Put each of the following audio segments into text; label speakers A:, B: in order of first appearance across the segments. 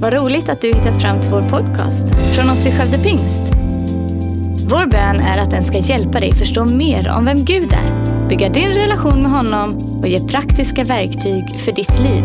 A: Vad roligt att du hittat fram till vår podcast från oss i Skövde Pingst. Vår bön är att den ska hjälpa dig förstå mer om vem Gud är, bygga din relation med honom och ge praktiska verktyg för ditt liv.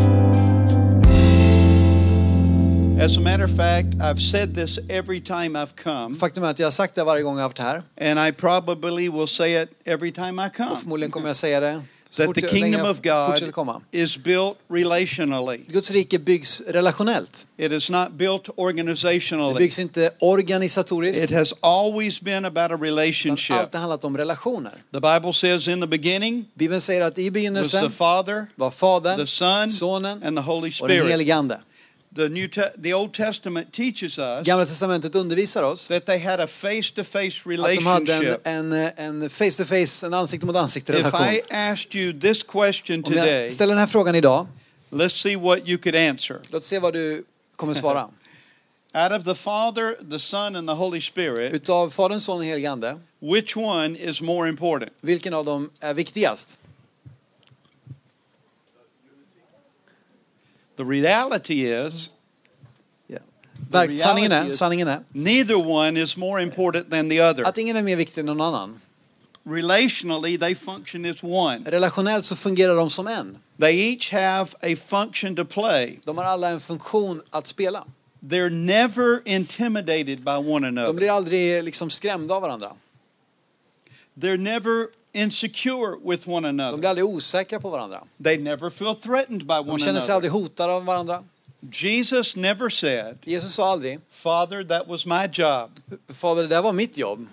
B: As a matter of fact, I've said this every time I've come,
C: Faktum är att jag har sagt det varje gång jag har varit här.
B: and I probably will say it every time I
C: Och
B: come.
C: förmodligen kommer jag säga det. så
B: That
C: fort
B: Ah. the
C: jag- länge
B: kingdom
C: jag
B: of God
C: fortsätter komma.
B: is built relationally.
C: Guds rike byggs relationellt.
B: It is not built
C: Det
B: organizationally.
C: byggs inte
B: It
C: organisatoriskt.
B: has always been about a
C: utan Allt
B: relationship.
C: har handlat om relationer.
B: The Bible says in the beginning
C: Bibeln säger att i
B: was the
C: begynnelsen
B: Father,
C: var
B: the
C: Fadern,
B: Son,
C: Sonen
B: and the Holy
C: och den
B: Spirit.
C: helige Ande.
B: The New Te- the Old Testament teaches us
C: Gamla testamentet undervisar oss
B: that they had a face-to-face
C: att de hade
B: relationship.
C: en, en, en face-to-face, en ansikte mot
B: If
C: ansikte-relation.
B: I asked you this question
C: Om
B: today,
C: jag ställer den här frågan idag,
B: let's see what you could answer.
C: låt oss se vad du kommer svara.
B: Out of the Father, the Son, and the Holy Spirit,
C: Utav Fadern, Sonen och helige Ande,
B: which one is more important?
C: vilken av dem är viktigast?
B: The reality is
C: Verk, sanningen, är,
B: reality is-
C: sanningen är
B: neither one is more important than the other.
C: att ingen är mer viktig än någon annan.
B: Relationally, they function as one.
C: Relationellt så fungerar de som en.
B: They each have a function to play.
C: De har alla en funktion att spela.
B: They're never intimidated by one
C: De
B: another.
C: blir aldrig liksom skrämda av varandra.
B: They're never insecure with one
C: De blir
B: another.
C: aldrig osäkra på varandra.
B: They never feel threatened by
C: De
B: one
C: känner sig
B: another.
C: aldrig hotade av varandra.
B: Jesus never said,
C: Jesus sa aldrig,
B: Father, that was my job.
C: Fader det där var mitt jobb.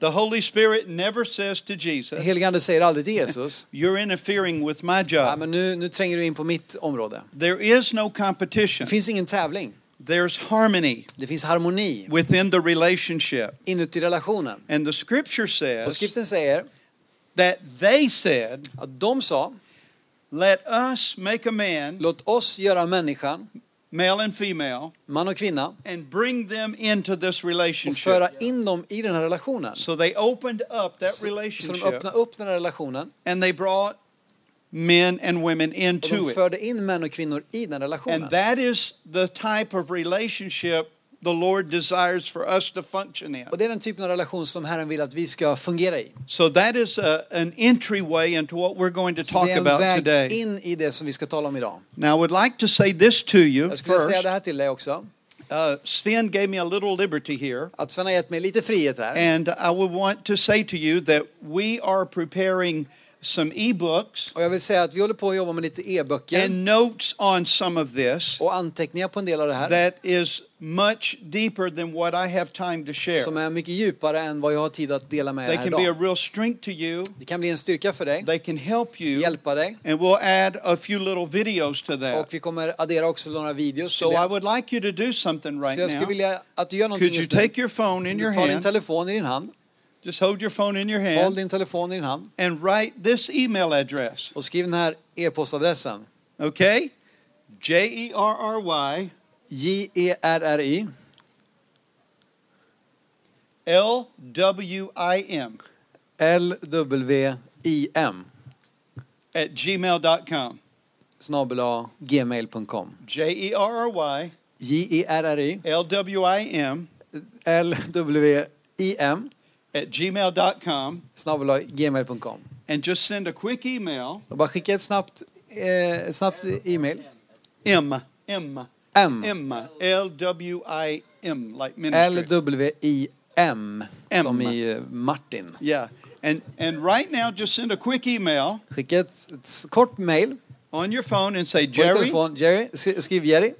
B: The Holy Spirit never says to Jesus,
C: Helige Ande säger aldrig till Jesus,
B: You're interfering with my
C: Nej,
B: job.
C: men nu, nu tränger du in på mitt område.
B: There is no
C: Det
B: competition.
C: finns ingen tävling.
B: There's harmony
C: Det finns harmoni
B: within the relationship.
C: inuti relationen.
B: And the scripture
C: Och
B: says
C: skriften säger
B: that they said,
C: att de sa,
B: Let us make a man,
C: låt oss göra människan,
B: male and female,
C: man och kvinna,
B: and bring them into this
C: och
B: relationship.
C: föra in dem i den här relationen.
B: So they opened up that
C: Så, så de
B: relationship
C: öppnade upp den här relationen
B: and they brought men and women
C: och
B: into
C: de
B: it.
C: förde in män och kvinnor i den relationen.
B: And that is the type of relationship the Lord desires for us to function in.
C: Och det är den typen av relation som Herren vill att vi ska fungera i.
B: So that is a, an entryway into what we're going to
C: Så
B: talk
C: det är en
B: about
C: väg
B: today.
C: in i det som vi ska tala om idag.
B: Now, I would like to say this to you
C: Jag skulle säga
B: first.
C: det här till dig också.
B: Uh, Sven gave me a little liberty here,
C: Att Sven har gett mig lite frihet här.
B: and I would want to say to you that we are preparing some ebooks
C: Och jag vill säga att vi håller på att jobba med lite e-böcker
B: and notes on some of this
C: och anteckningar på en del av det här.
B: that is much deeper than what I have time to share.
C: Som är mycket djupare än vad jag har tid att dela med
B: They
C: er här
B: can be a
C: idag.
B: real strength to you.
C: Det kan bli en styrka för dig,
B: They can help you,
C: hjälpa dig.
B: and we'll add a few little videos to
C: Och
B: that.
C: vi kommer addera också några videos till
B: So I
C: det.
B: would like you to do something right
C: Så jag skulle
B: now.
C: vilja att du gör någonting
B: Could you
C: just nu.
B: take your phone in your
C: Du tar din
B: hand?
C: telefon i din hand.
B: Just hold your phone in your
C: Håll
B: hand
C: din telefon i din hand.
B: and write this email address.
C: Och skriv den här e-postadressen.
B: Okay? J E R R Y
C: E J-E-R-R-Y
B: L W I M
C: L-W-I-M
B: at gmail.com.
C: snabel-a gmail.com.
B: J E R R Y
C: E J-E-R-R-Y
B: L W I M
C: L-W-I-M
B: at gmail.com
C: snabel-a gmail.com.
B: and just send a quick email.
C: Och bara skicka ett snabbt, eh, ett snabbt e-mail.
B: M. M.
C: M.
B: M. L W I M, like ministry.
C: L-W-I-M.
B: M.
C: Som i eh, Martin.
B: Yeah. And, and right now, just send a quick email
C: Skicka ett, ett s- kort mail.
B: on your phone and say,
C: På din
B: Jerry,
C: telefon. Jerry. s- Skriv Jerry.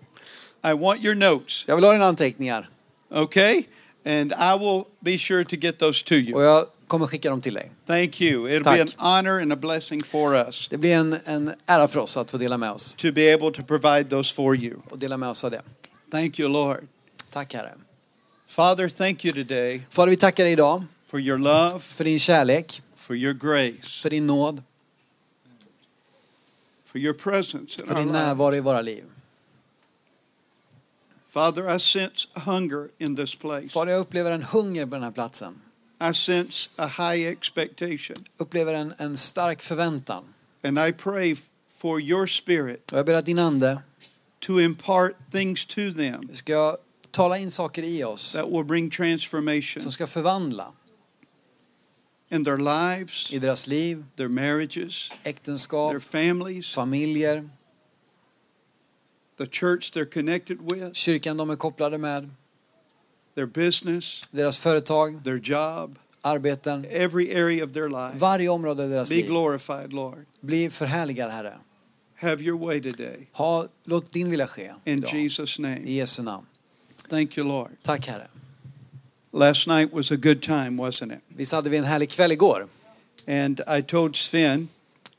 B: I want your notes.
C: Jag vill ha dina anteckningar.
B: Okay? And I will be sure to get those to
C: Och
B: you.
C: jag kommer skicka dem till dig.
B: Thank you. It'll be an
C: Tack.
B: honor and a blessing for us
C: Det blir en, en ära för oss att få dela med oss.
B: to be able to provide those for you.
C: Och dela med oss av det.
B: Thank you, Lord.
C: Tack Herre.
B: Father, thank you today
C: Fader, vi tackar dig idag
B: for your love,
C: för din kärlek,
B: for your grace,
C: för din nåd,
B: for your presence in
C: för
B: our
C: din
B: lives.
C: närvaro i våra liv.
B: Father, I sense hunger in this place.
C: Fader, jag upplever en hunger på den här platsen.
B: I sense a high expectation.
C: Upplever en, en stark förväntan.
B: And I pray f- for your spirit
C: Och jag ber att din ande
B: to impart things to them
C: ska tala in saker i oss
B: that will bring transformation
C: som ska förvandla
B: in their
C: i
B: lives,
C: deras liv,
B: their marriages,
C: äktenskap,
B: their families,
C: familjer,
B: the church they're connected with,
C: kyrkan de är kopplade med,
B: their business,
C: deras företag,
B: their job,
C: arbeten.
B: every area of their life.
C: Varje område i deras
B: Be
C: liv.
B: glorified, Lord.
C: Bli förhärligad, Herre.
B: Have your way today.
C: Ha, låt din vilja ske.
B: In
C: idag.
B: Jesus' name.
C: I Jesu namn.
B: Thank you, Lord.
C: Tack, Herre.
B: Last night was a good time, wasn't it?
C: Visst hade vi en härlig kväll igår?
B: And I told Sven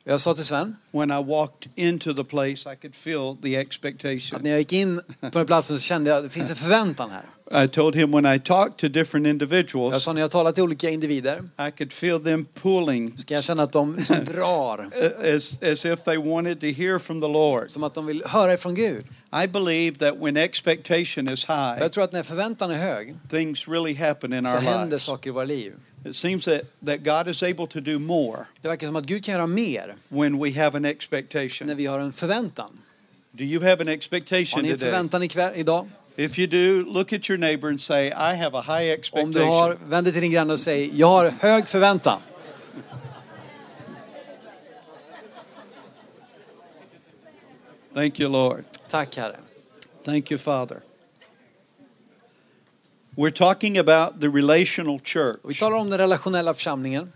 C: Jag sa till Sven
B: when I walked into the place, I could feel the
C: att
B: expectation.
C: när jag gick in på den här platsen så kände jag att det finns en förväntan här.
B: I told him when I talked to different
C: Jag
B: individuals,
C: sa när jag talar till olika individer
B: I could feel them pulling
C: så kan jag känna att de liksom drar.
B: as, as if they wanted to hear from the Lord.
C: Som att de vill höra ifrån Gud.
B: I believe that when expectation is high,
C: Jag tror att när förväntan är hög
B: things really happen in
C: så
B: our
C: händer
B: lives.
C: saker i våra liv.
B: It seems that, that God is able to do more
C: Det verkar som att Gud kan göra mer
B: when we have an
C: när
B: expectation.
C: vi har en förväntan.
B: Do you have an
C: Har
B: expectation
C: ni en
B: today?
C: förväntan ikväll, idag?
B: If you do, look at your neighbor and say, I have a high
C: Om du har,
B: expectation.
C: vänd dig till din granne och säg, jag har hög förväntan.
B: Thank you, Lord.
C: Tack Herre.
B: Thank you, Father. We're talking about the relational
C: Och vi
B: church.
C: talar om den relationella församlingen.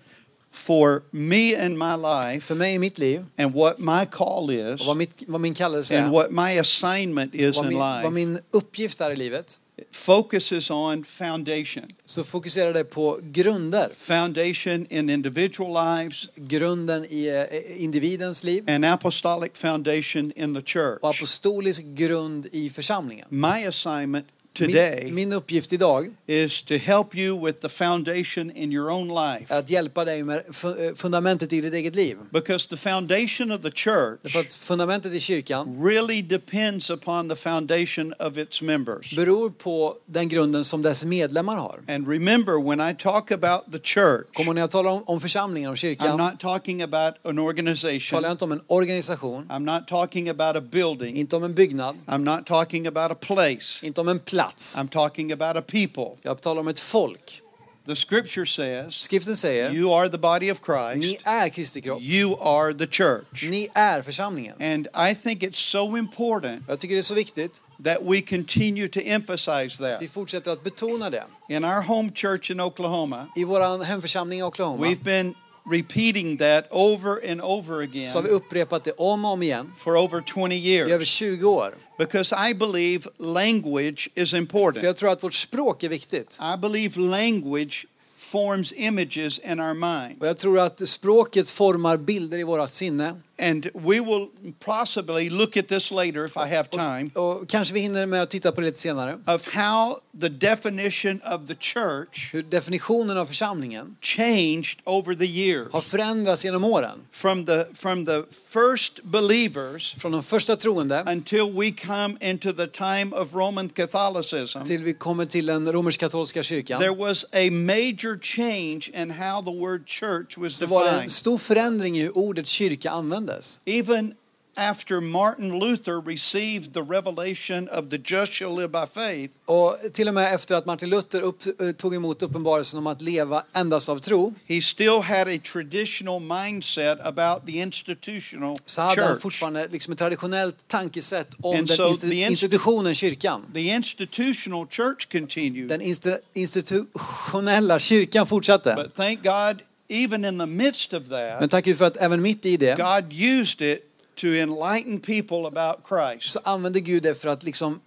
B: For me and my life,
C: För mig i mitt liv,
B: and what my call is,
C: och vad, mitt, vad min kallelse är,
B: and what my assignment is
C: vad
B: in
C: min, vad
B: life,
C: min uppgift är i livet,
B: it focuses on foundation.
C: så fokuserar det på grunder.
B: Foundation in individual lives
C: Grunden i eh, individens liv
B: and apostolic foundation in the church.
C: och apostolisk grund i församlingen.
B: My assignment
C: Min,
B: today
C: min uppgift idag
B: is to help you with the foundation in your own life.
C: är att hjälpa dig med fu- eh, fundamentet i ditt eget liv.
B: Because the foundation of the church
C: Därför att fundamentet i kyrkan
B: really depends upon the foundation of its members.
C: beror på den grunden som dess medlemmar har.
B: And remember, when I talk about the church,
C: Kommer när jag talar om, om församlingen, om
B: I'm
C: kyrkan,
B: not talking about an
C: talar jag
B: organization.
C: inte om en organisation,
B: I'm not talking about a building.
C: inte om en byggnad,
B: I'm not talking about a place.
C: inte om en plats.
B: I'm talking about a people.
C: Jag talar om ett folk.
B: The scripture says,
C: Skriften säger,
B: You are the body of
C: ni
B: Christ,
C: är Kristi kropp,
B: you are the church.
C: ni är församlingen.
B: And I think it's so important
C: Jag tycker det är så viktigt
B: that we continue to emphasize
C: att
B: that.
C: vi fortsätter att betona det.
B: In our home church in Oklahoma,
C: I vår hemförsamling i Oklahoma
B: We've been repeating that over and over again
C: så har vi upprepat det om och om igen
B: for over 20
C: i över
B: years
C: 20 år.
B: because I believe language is
C: För
B: important.
C: jag tror att vårt språk är viktigt.
B: I believe language forms images in our mind.
C: Och jag tror att språket formar bilder i våra sinne.
B: And we will possibly look at this later if I have time
C: Och kanske vi hinner med att titta på det lite senare.
B: of how the definition of the church
C: Hur definitionen av församlingen
B: changed over the years
C: har förändrats genom åren.
B: from the from the first believers
C: Från de första troende
B: until we come into the time of Roman Catholicism.
C: till vi kommer till den romersk-katolska kyrkan.
B: There was a major change in how the word church was
C: så var det en
B: defined.
C: stor förändring i hur ordet kyrka användes.
B: Even after Martin Luther received the revelation of the just shall live by faith,
C: Och till och med efter att Martin Luther upp, eh, tog emot uppenbarelsen om att leva endast av tro
B: he still had a traditional mindset about the institutional
C: så hade han
B: church.
C: fortfarande liksom ett traditionellt tankesätt om
B: And
C: den
B: so
C: insti-
B: the inst-
C: institutionen kyrkan.
B: The institutional church continued,
C: Den insti- institutionella kyrkan fortsatte.
B: but thank God, even in the midst of
C: Men
B: that,
C: tack Gud för att även mitt i det
B: God used it to enlighten people about Christ.
C: så använde Gud det för att liksom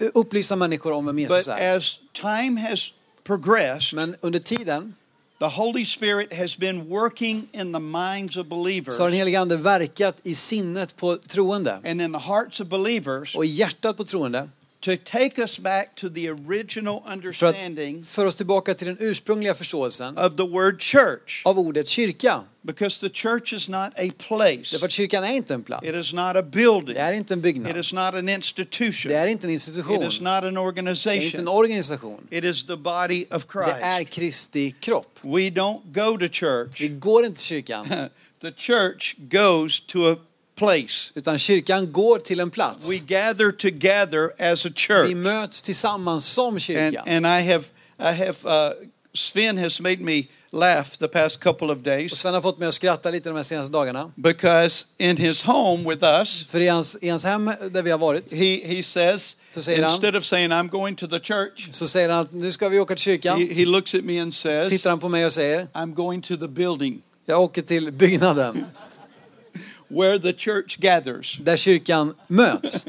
C: eh, upplysa människor om vem Jesus
B: But
C: är.
B: as time has progressed,
C: Men under tiden
B: The Holy Spirit has been working in the minds of believers
C: så har den helige Ande verkat i sinnet på troende
B: and in the hearts of believers
C: och i hjärtat på troende
B: to take us back to the original
C: för att
B: understanding
C: föra oss tillbaka till den ursprungliga förståelsen
B: of the word church
C: av ordet kyrka.
B: because the church is not a place,
C: Därför att kyrkan är inte en plats.
B: it is not a building,
C: Det är inte en
B: it
C: byggnad.
B: is not an
C: Det
B: institution,
C: är inte en institution.
B: it is not an
C: Det är inte
B: organization,
C: en organisation.
B: it is the body of
C: Det är
B: Christ.
C: Kristi kropp.
B: We don't go to
C: Vi
B: church,
C: går inte till kyrkan.
B: the church goes to a place.
C: Utan kyrkan går till en plats.
B: We gather together as a
C: Vi
B: church.
C: möts tillsammans som
B: And,
C: kyrka.
B: and I have, I have uh, Sven has made me laugh the past couple of
C: och
B: days
C: Sven har fått mig att skratta lite de här senaste dagarna.
B: because in his home with us,
C: För i hans, i hans hem där vi har varit
B: he, he says,
C: Så säger han-
B: instead of saying, I'm going to the church,
C: så säger han att nu ska vi åka till
B: he,
C: kyrkan.
B: he looks at me and says,
C: Tittar han på mig och säger
B: I'm going to the building
C: jag åker till byggnaden
B: where the church gathers.
C: där kyrkan möts.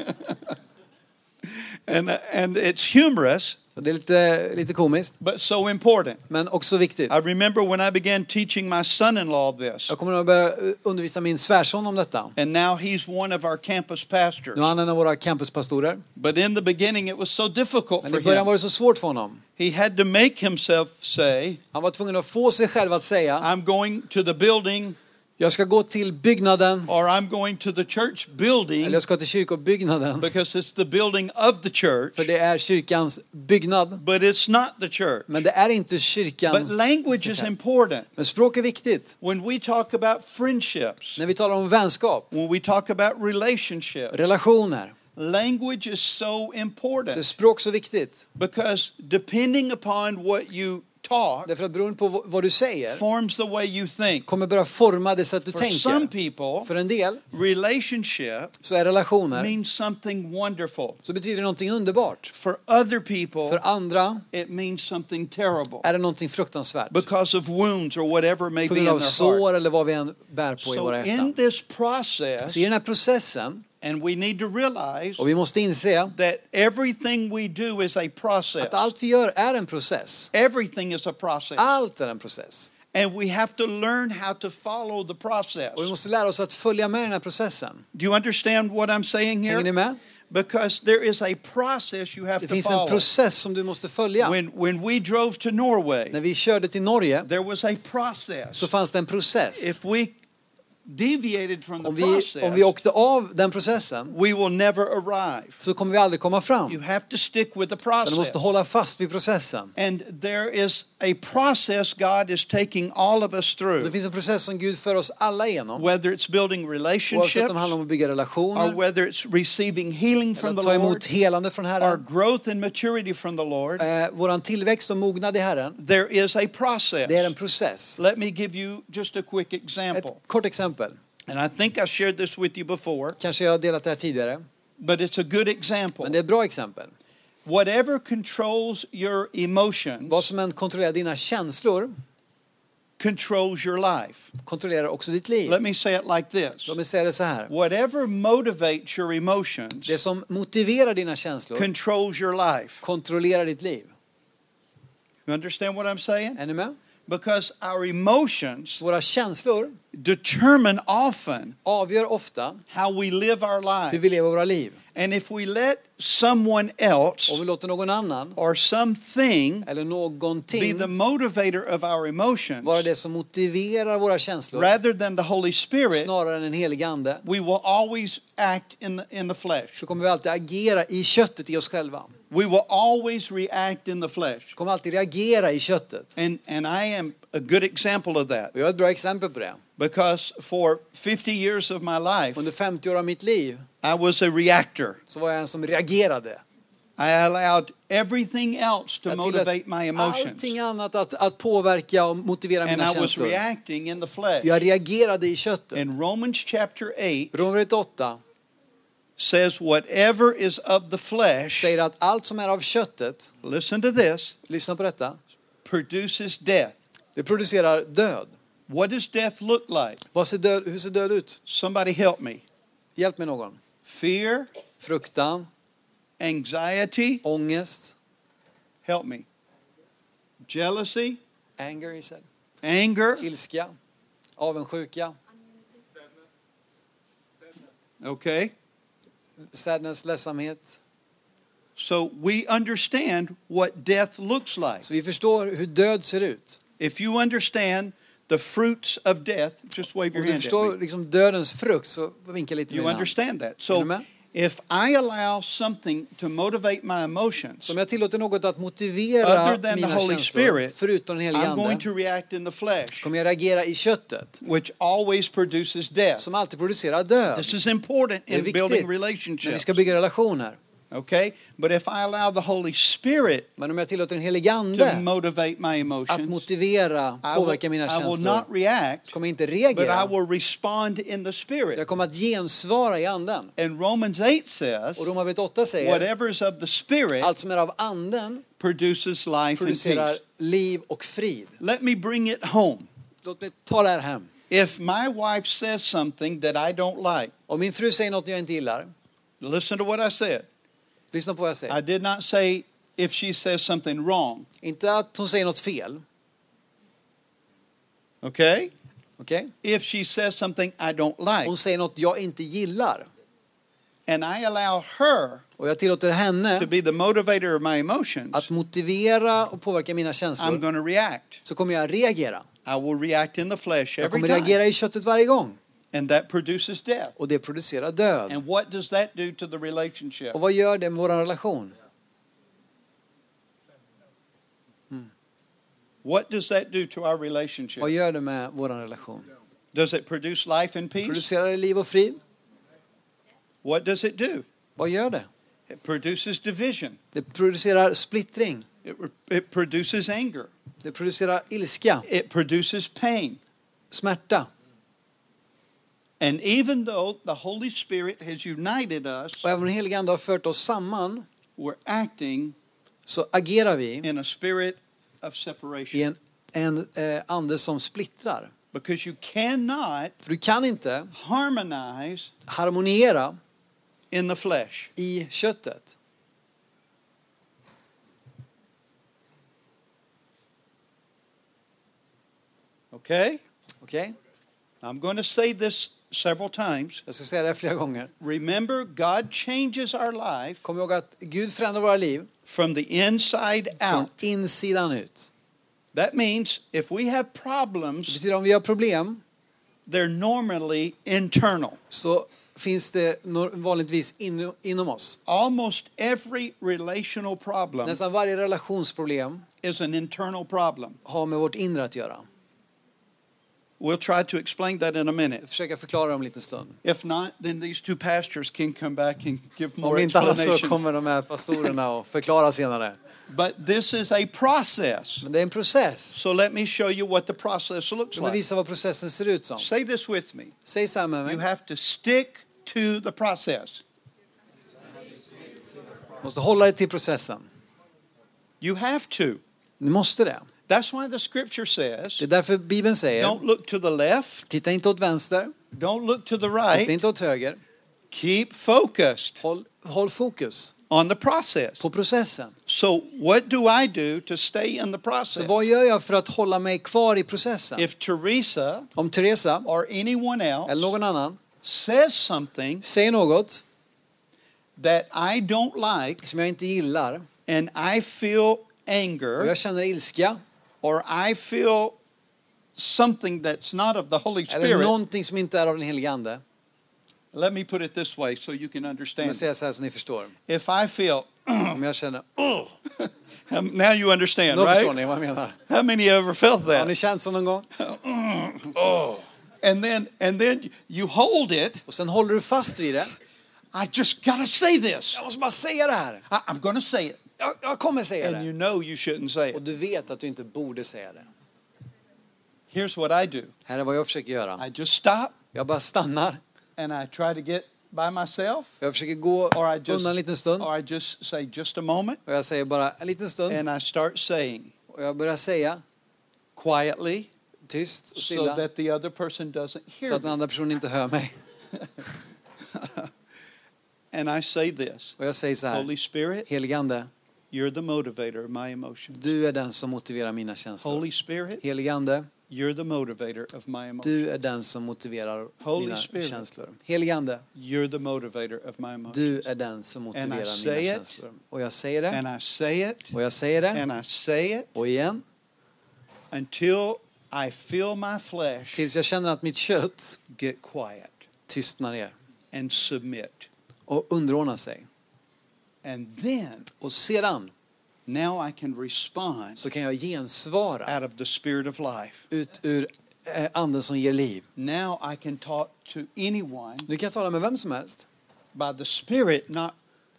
B: And, and it's humorous,
C: Och det är lite, lite komiskt
B: but so important.
C: men också viktigt.
B: I remember when I began teaching my son in law this,
C: Jag kommer att börja eh, undervisa min svärson om detta.
B: and now he's one of our campus pastors.
C: Nu är han en av våra campuspastorer.
B: But in the beginning, it was so difficult
C: Men
B: for
C: i början var
B: him.
C: det så svårt för honom.
B: He had to make himself say,
C: Han var tvungen att få sig själv att säga
B: I'm going to the building
C: jag ska gå till byggnaden
B: or I'm going to the church
C: eller
B: building
C: jag ska till kyrkobyggnaden.
B: because it's the building of the church,
C: För det är kyrkans byggnad.
B: but it's not the church.
C: Men det är inte
B: But
C: kyrkan.
B: language is important.
C: Men språk är viktigt.
B: When we talk about friendships,
C: När vi talar om vänskap,
B: when we talk about relationships,
C: relationer,
B: language is so
C: så är
B: important
C: språk så viktigt.
B: because depending upon what you talk
C: Därför att beroende på vad du säger
B: forms the way you think.
C: kommer börja forma det sätt du
B: For some
C: tänker.
B: people,
C: För en del
B: relationship
C: så är relationer
B: means something wonderful.
C: så betyder det någonting underbart.
B: For other people,
C: För andra
B: it means something terrible
C: är det någonting fruktansvärt.
B: because of wounds or whatever may
C: På
B: be in
C: grund
B: their
C: av
B: heart.
C: sår eller vad vi än bär på i
B: So
C: våra
B: in
C: hjärtan.
B: this process,
C: Så i den här processen,
B: and we need to realize
C: och vi måste inse
B: that everything we do is a process.
C: att allt vi gör är en process.
B: Everything is a process.
C: Allt är en process.
B: And we have to learn how to follow the process.
C: Och vi måste lära oss att följa med i den här processen.
B: Do you understand what I'm saying
C: Hänger ni
B: here?
C: med?
B: Because there is a process you have
C: Det
B: to
C: finns en
B: follow.
C: process som du måste följa.
B: When, when we drove to Norway,
C: När vi körde till Norge
B: there was a process.
C: så fanns det en process.
B: If we deviated from the
C: Om vi, om
B: process,
C: vi åkte av den processen
B: we will never arrive.
C: så kommer vi aldrig komma fram.
B: You have to stick with the
C: Men du
B: process.
C: måste hålla fast vid processen.
B: And there is a process God is taking all of us
C: Det
B: through,
C: finns en process som Gud för oss alla igenom.
B: whether it's building relationships
C: Oavsett om det handlar om att bygga
B: or
C: relationer,
B: whether it's receiving healing
C: eller
B: from
C: att
B: the
C: ta emot
B: Lord
C: helande från
B: or
C: Herren,
B: growth and maturity from the Lord.
C: eh, våran tillväxt och mognad i Herren.
B: There is a process.
C: Det är en process.
B: Let me give you just a quick
C: Ett
B: example.
C: kort exempel.
B: And I think I shared this with you before,
C: Kanske jag har delat det här tidigare.
B: but it's a good example.
C: Men det är ett bra exempel.
B: Whatever controls your emotions
C: Vad som än kontrollerar dina känslor
B: controls your life.
C: kontrollerar också ditt liv.
B: Let me say it like this.
C: Låt mig säga det så här.
B: Whatever motivates your
C: Det
B: emotions
C: som motiverar dina känslor
B: controls your life.
C: kontrollerar ditt liv.
B: You understand what I'm saying?
C: Är ni med?
B: Because our emotions
C: Våra känslor
B: determine often
C: avgör ofta
B: how we live our
C: hur
B: life.
C: vi lever våra liv.
B: And if we let someone else
C: Om vi låter någon annan
B: or something
C: eller
B: be
C: någonting
B: the motivator of our emotions
C: vara det som motiverar våra känslor
B: rather than the Holy Spirit,
C: snarare än en helig ande
B: we will always act in the, in the flesh.
C: så kommer vi alltid agera i köttet i oss själva.
B: We will always react in the flesh.
C: Vi kommer alltid reagera i köttet.
B: And, and I am a good example of that
C: Och jag har ett bra exempel på det.
B: because for 50 years of my life,
C: Under 50 år av mitt liv
B: I was a reactor.
C: så var jag en som reagerade.
B: I allowed everything else to
C: Jag
B: motivate my emotions.
C: allting annat att, att påverka och motivera
B: And
C: mina
B: I was
C: känslor.
B: reacting in the flesh.
C: Jag reagerade i köttet.
B: In Romans chapter 8
C: Romarbrevet 8
B: says, Whatever is of the flesh,
C: säger att allt som är av köttet,
B: listen to this,
C: lyssna på detta,
B: produces death.
C: det producerar död.
B: What does death look like?
C: Vad ser död hur ser död ut?
B: Somebody help me.
C: Hjälp mig någon.
B: Fear,
C: Fruktan,
B: anxiety,
C: ångest,
B: help me. Jealousy,
C: anger, he said.
B: anger,
C: ilska, avundsjuka,
B: okay?
C: sadness, ledsamhet.
B: So we understand what death looks like.
C: Så vi förstår hur död ser ut.
B: If you understand the fruits of death, just wave
C: Om
B: your
C: du
B: hand at me.
C: förstår liksom dödens frukt så vinka lite med
B: You
C: din hand.
B: understand that.
C: Är du
B: So
C: med?
B: If I allow something to motivate my emotions,
C: Så om jag tillåter något att motivera
B: Other than the
C: mina
B: Holy
C: känslor,
B: Spirit,
C: förutom den helige
B: I'm going
C: Ande,
B: to react in the flesh,
C: kommer jag reagera i köttet,
B: which always produces death.
C: som alltid producerar död.
B: This is important
C: Det är
B: in building
C: viktigt när vi
B: relationships.
C: ska bygga relationer.
B: Okay? But if I allow the Holy Spirit
C: Men om jag tillåter den helige
B: to
C: Ande
B: motivate my
C: att
B: emotions,
C: motivera,
B: I will,
C: påverka mina
B: I will not
C: känslor,
B: react,
C: kommer jag inte
B: but I
C: reagera.
B: will respond in the Spirit.
C: Jag kommer att gensvara i Anden.
B: And Romans 8
C: Och
B: says,
C: Romarbrevet 8 säger,
B: whatever is of the Spirit
C: allt som är av Anden
B: produces life and
C: producerar
B: peace.
C: liv och frid.
B: Let me bring it home.
C: Låt mig ta det här hem.
B: If my wife says something that I don't like,
C: Om min fru säger något jag inte gillar,
B: listen to what I said.
C: lyssna på vad jag
B: I
C: säger.
B: did not say if she says something wrong,
C: Inte att hon säger något fel,
B: okay?
C: okej?
B: If she says something I don't like,
C: Hon säger något jag inte gillar
B: and I allow her
C: och jag tillåter
B: to
C: henne
B: be the motivator of my emotions,
C: att motivera och påverka mina
B: I'm
C: känslor,
B: going to react.
C: så kommer jag reagera.
B: I will react in the flesh
C: Jag
B: every
C: kommer
B: time,
C: reagera i köttet varje gång
B: and that produces death.
C: och det producerar död.
B: And what does that do to the relationship?
C: Och vad gör det med vår relation?
B: What does that do to our
C: Vad
B: relationship?
C: gör det med vår relation?
B: Does it produce life and peace?
C: Producerar det liv och frid?
B: What does it do?
C: Vad gör det?
B: It produces division.
C: Det producerar splittring.
B: It, it produces anger.
C: Det producerar ilska,
B: It produces pain.
C: smärta.
B: And even though the Holy Spirit has united us,
C: Och även om den helige Ande har fört oss samman
B: we're acting
C: så agerar vi
B: in a spirit of
C: i
B: separation
C: en, en eh, ande som splittrar.
B: because you cannot
C: För du kan inte
B: harmonize
C: harmoniera
B: in the flesh.
C: i köttet.
B: Okay?
C: Okej?
B: I'm going to say this several times.
C: Jag ska säga det här flera gånger.
B: Remember, God changes our life
C: Kom ihåg att Gud förändrar våra liv
B: from the inside
C: från
B: out.
C: insidan ut.
B: That means if we have
C: Det
B: problems,
C: betyder om vi har problem
B: they're normally internal.
C: så finns det nor- vanligtvis inu- inom oss.
B: Almost every relational problem
C: Nästan varje relationsproblem
B: is an internal problem.
C: har med vårt inre att göra.
B: We'll try to explain that in a
C: Jag
B: minute.
C: försöker förklara om en liten stund.
B: If not, then these two pastors can come back and give more
C: Om inte annat så
B: explanation.
C: kommer de här pastorerna och förklara senare.
B: But this is a process.
C: Men det är en process.
B: So let me show you what the process looks
C: Så det
B: like.
C: visar vad processen ser ut som.
B: Say this with me.
C: Säg så här med
B: You
C: mig.
B: have to stick to the process.
C: Måste hålla dig till processen.
B: You have to.
C: Du måste det.
B: That's why the scripture
C: Det är
B: says
C: därför Bibeln säger,
B: don't look to the left,
C: titta inte åt vänster,
B: don't look to the
C: titta
B: right.
C: inte åt höger.
B: Keep focused
C: Håll, håll fokus
B: on the process.
C: på processen.
B: So, what do I do to stay in the
C: Så
B: process?
C: vad gör jag för att hålla mig kvar i processen?
B: If Teresa
C: Om Teresa
B: or anyone
C: eller
B: else
C: någon annan
B: says something
C: säger något
B: that I don't like
C: som jag inte gillar
B: and I feel
C: och
B: anger
C: jag känner ilska
B: or I feel something that's not of the Holy
C: eller
B: Spirit,
C: någonting som inte är av den helige Ande.
B: let me put it this way so you can
C: Jag
B: understand.
C: säger så här så ni förstår.
B: If I feel,
C: Om jag känner,
B: um, now you understand,
C: då förstår
B: right?
C: ni vad jag menar.
B: How many ever felt
C: Har ni
B: that?
C: känt så någon gång?
B: And then, and then you hold it.
C: Och sen håller du fast vid det.
B: I just gotta say this.
C: Jag måste bara säga det här.
B: I, I'm gonna say it.
C: Jag, jag kommer säga
B: And you
C: det.
B: know you shouldn't say
C: Och
B: it.
C: du vet att du inte borde säga det.
B: Here's what I do.
C: Här är vad jag försöker göra.
B: I just stop
C: Jag bara stannar.
B: and I try to get by myself,
C: Jag försöker gå
B: or I just,
C: undan en liten stund.
B: or I just say just a moment,
C: Och jag säger bara en liten stund.
B: and I start saying
C: Och jag börjar säga
B: quietly,
C: tyst och
B: so
C: stilla.
B: that the other person doesn't
C: Så
B: hear
C: att den
B: me.
C: andra personen inte hör mig.
B: And I say this:
C: Och jag säger så
B: Holy
C: här.
B: Spirit,
C: Heligande,
B: you're the motivator of my emotions.
C: du är den som motiverar mina känslor.
B: Holy Spirit,
C: Heligande,
B: you're the motivator of my emotions.
C: du är den som motiverar
B: Holy
C: mina
B: Spirit.
C: känslor. Heligande,
B: You're the motivator of my
C: du
B: emotions.
C: är den som
B: I
C: motiverar
B: say
C: mina
B: it.
C: känslor. Och jag säger det.
B: And I say it,
C: Och jag säger det.
B: and I say it
C: Och igen.
B: until I feel my flesh
C: Tills jag känner att mitt kött
B: get quiet
C: tystnar ner
B: and submit.
C: och underordna sig.
B: And then
C: Och sedan
B: now I can respond
C: så kan jag gensvara
B: out of the spirit of life.
C: ut ur eh, anden som ger liv.
B: Now I can talk to anyone
C: Nu kan jag tala med vem som helst
B: by the spirit not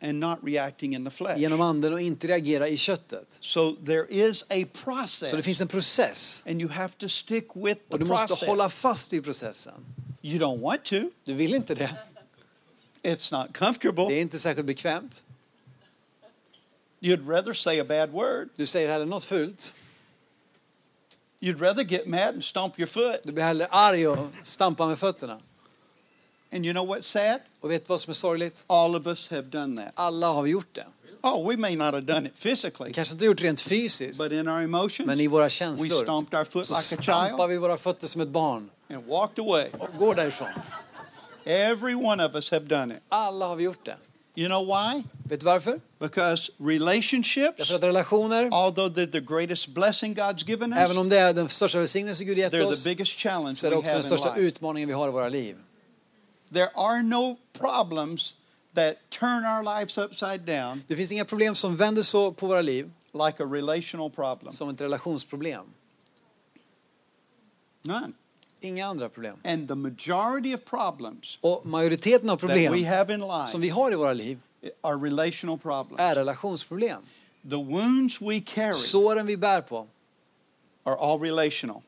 B: and not reacting in the flesh.
C: genom anden och inte reagera i köttet.
B: So there is a process.
C: Så det finns en process
B: and you have to stick with
C: och
B: the
C: du måste
B: process.
C: hålla fast vid processen.
B: You don't want to.
C: Du vill inte det.
B: It's not comfortable.
C: Det är inte särskilt bekvämt.
B: You'd rather say a bad word.
C: Du säger hellre något fult.
B: You'd rather get mad and stomp your foot.
C: Du blir hellre arg och stampar med fötterna.
B: And you know what's sad?
C: Och vet du vad som är sorgligt?
B: All of us have done that.
C: Alla har vi gjort det.
B: Oh, we may not have done it
C: Vi
B: physically,
C: kanske inte gjort det rent fysiskt,
B: but in our
C: men i
B: emotions,
C: våra
B: we
C: känslor.
B: stomped our foot
C: Så
B: like a
C: stampar
B: child
C: vi våra fötter som ett barn
B: and walked away.
C: och går därifrån.
B: Every one of us have done it.
C: Alla har vi gjort det.
B: You know why?
C: Vet du varför?
B: Because
C: Därför
B: relationships,
C: att relationer,
B: although they're the greatest blessing God's given
C: även
B: us,
C: om det är den största välsignelse Gud gett
B: they're the
C: oss,
B: biggest challenge
C: så är
B: we
C: det också den
B: have in
C: största
B: life.
C: utmaningen vi har i våra liv.
B: There are no problems that turn our lives upside down
C: Det finns inga problem som vänder så på våra liv
B: like a relational problem.
C: som ett relationsproblem.
B: None.
C: Inga andra problem.
B: And the majority of problems
C: Och majoriteten av
B: that
C: problem
B: we have in life
C: som vi har i våra liv
B: are relational problems.
C: är relationsproblem.
B: The wounds we carry
C: Såren vi bär på
B: are all relational.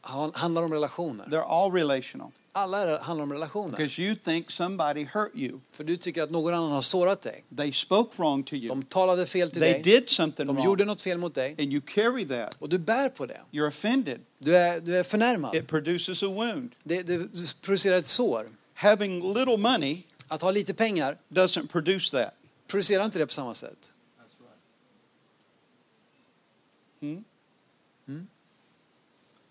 C: han- handlar om relationer.
B: They're all relational.
C: Alla är- handlar om relationer.
B: Because you think somebody hurt you.
C: För du tycker att någon annan har sårat dig.
B: They spoke wrong to you.
C: De talade fel till
B: They
C: dig.
B: did something
C: De
B: wrong.
C: gjorde något fel mot dig.
B: And you carry that.
C: Och du bär på det.
B: You're offended.
C: Du är, du är förnärmad.
B: It produces a wound.
C: Det, det producerar ett sår.
B: Having little money
C: Att ha lite pengar
B: doesn't produce that.
C: producerar inte det på samma sätt.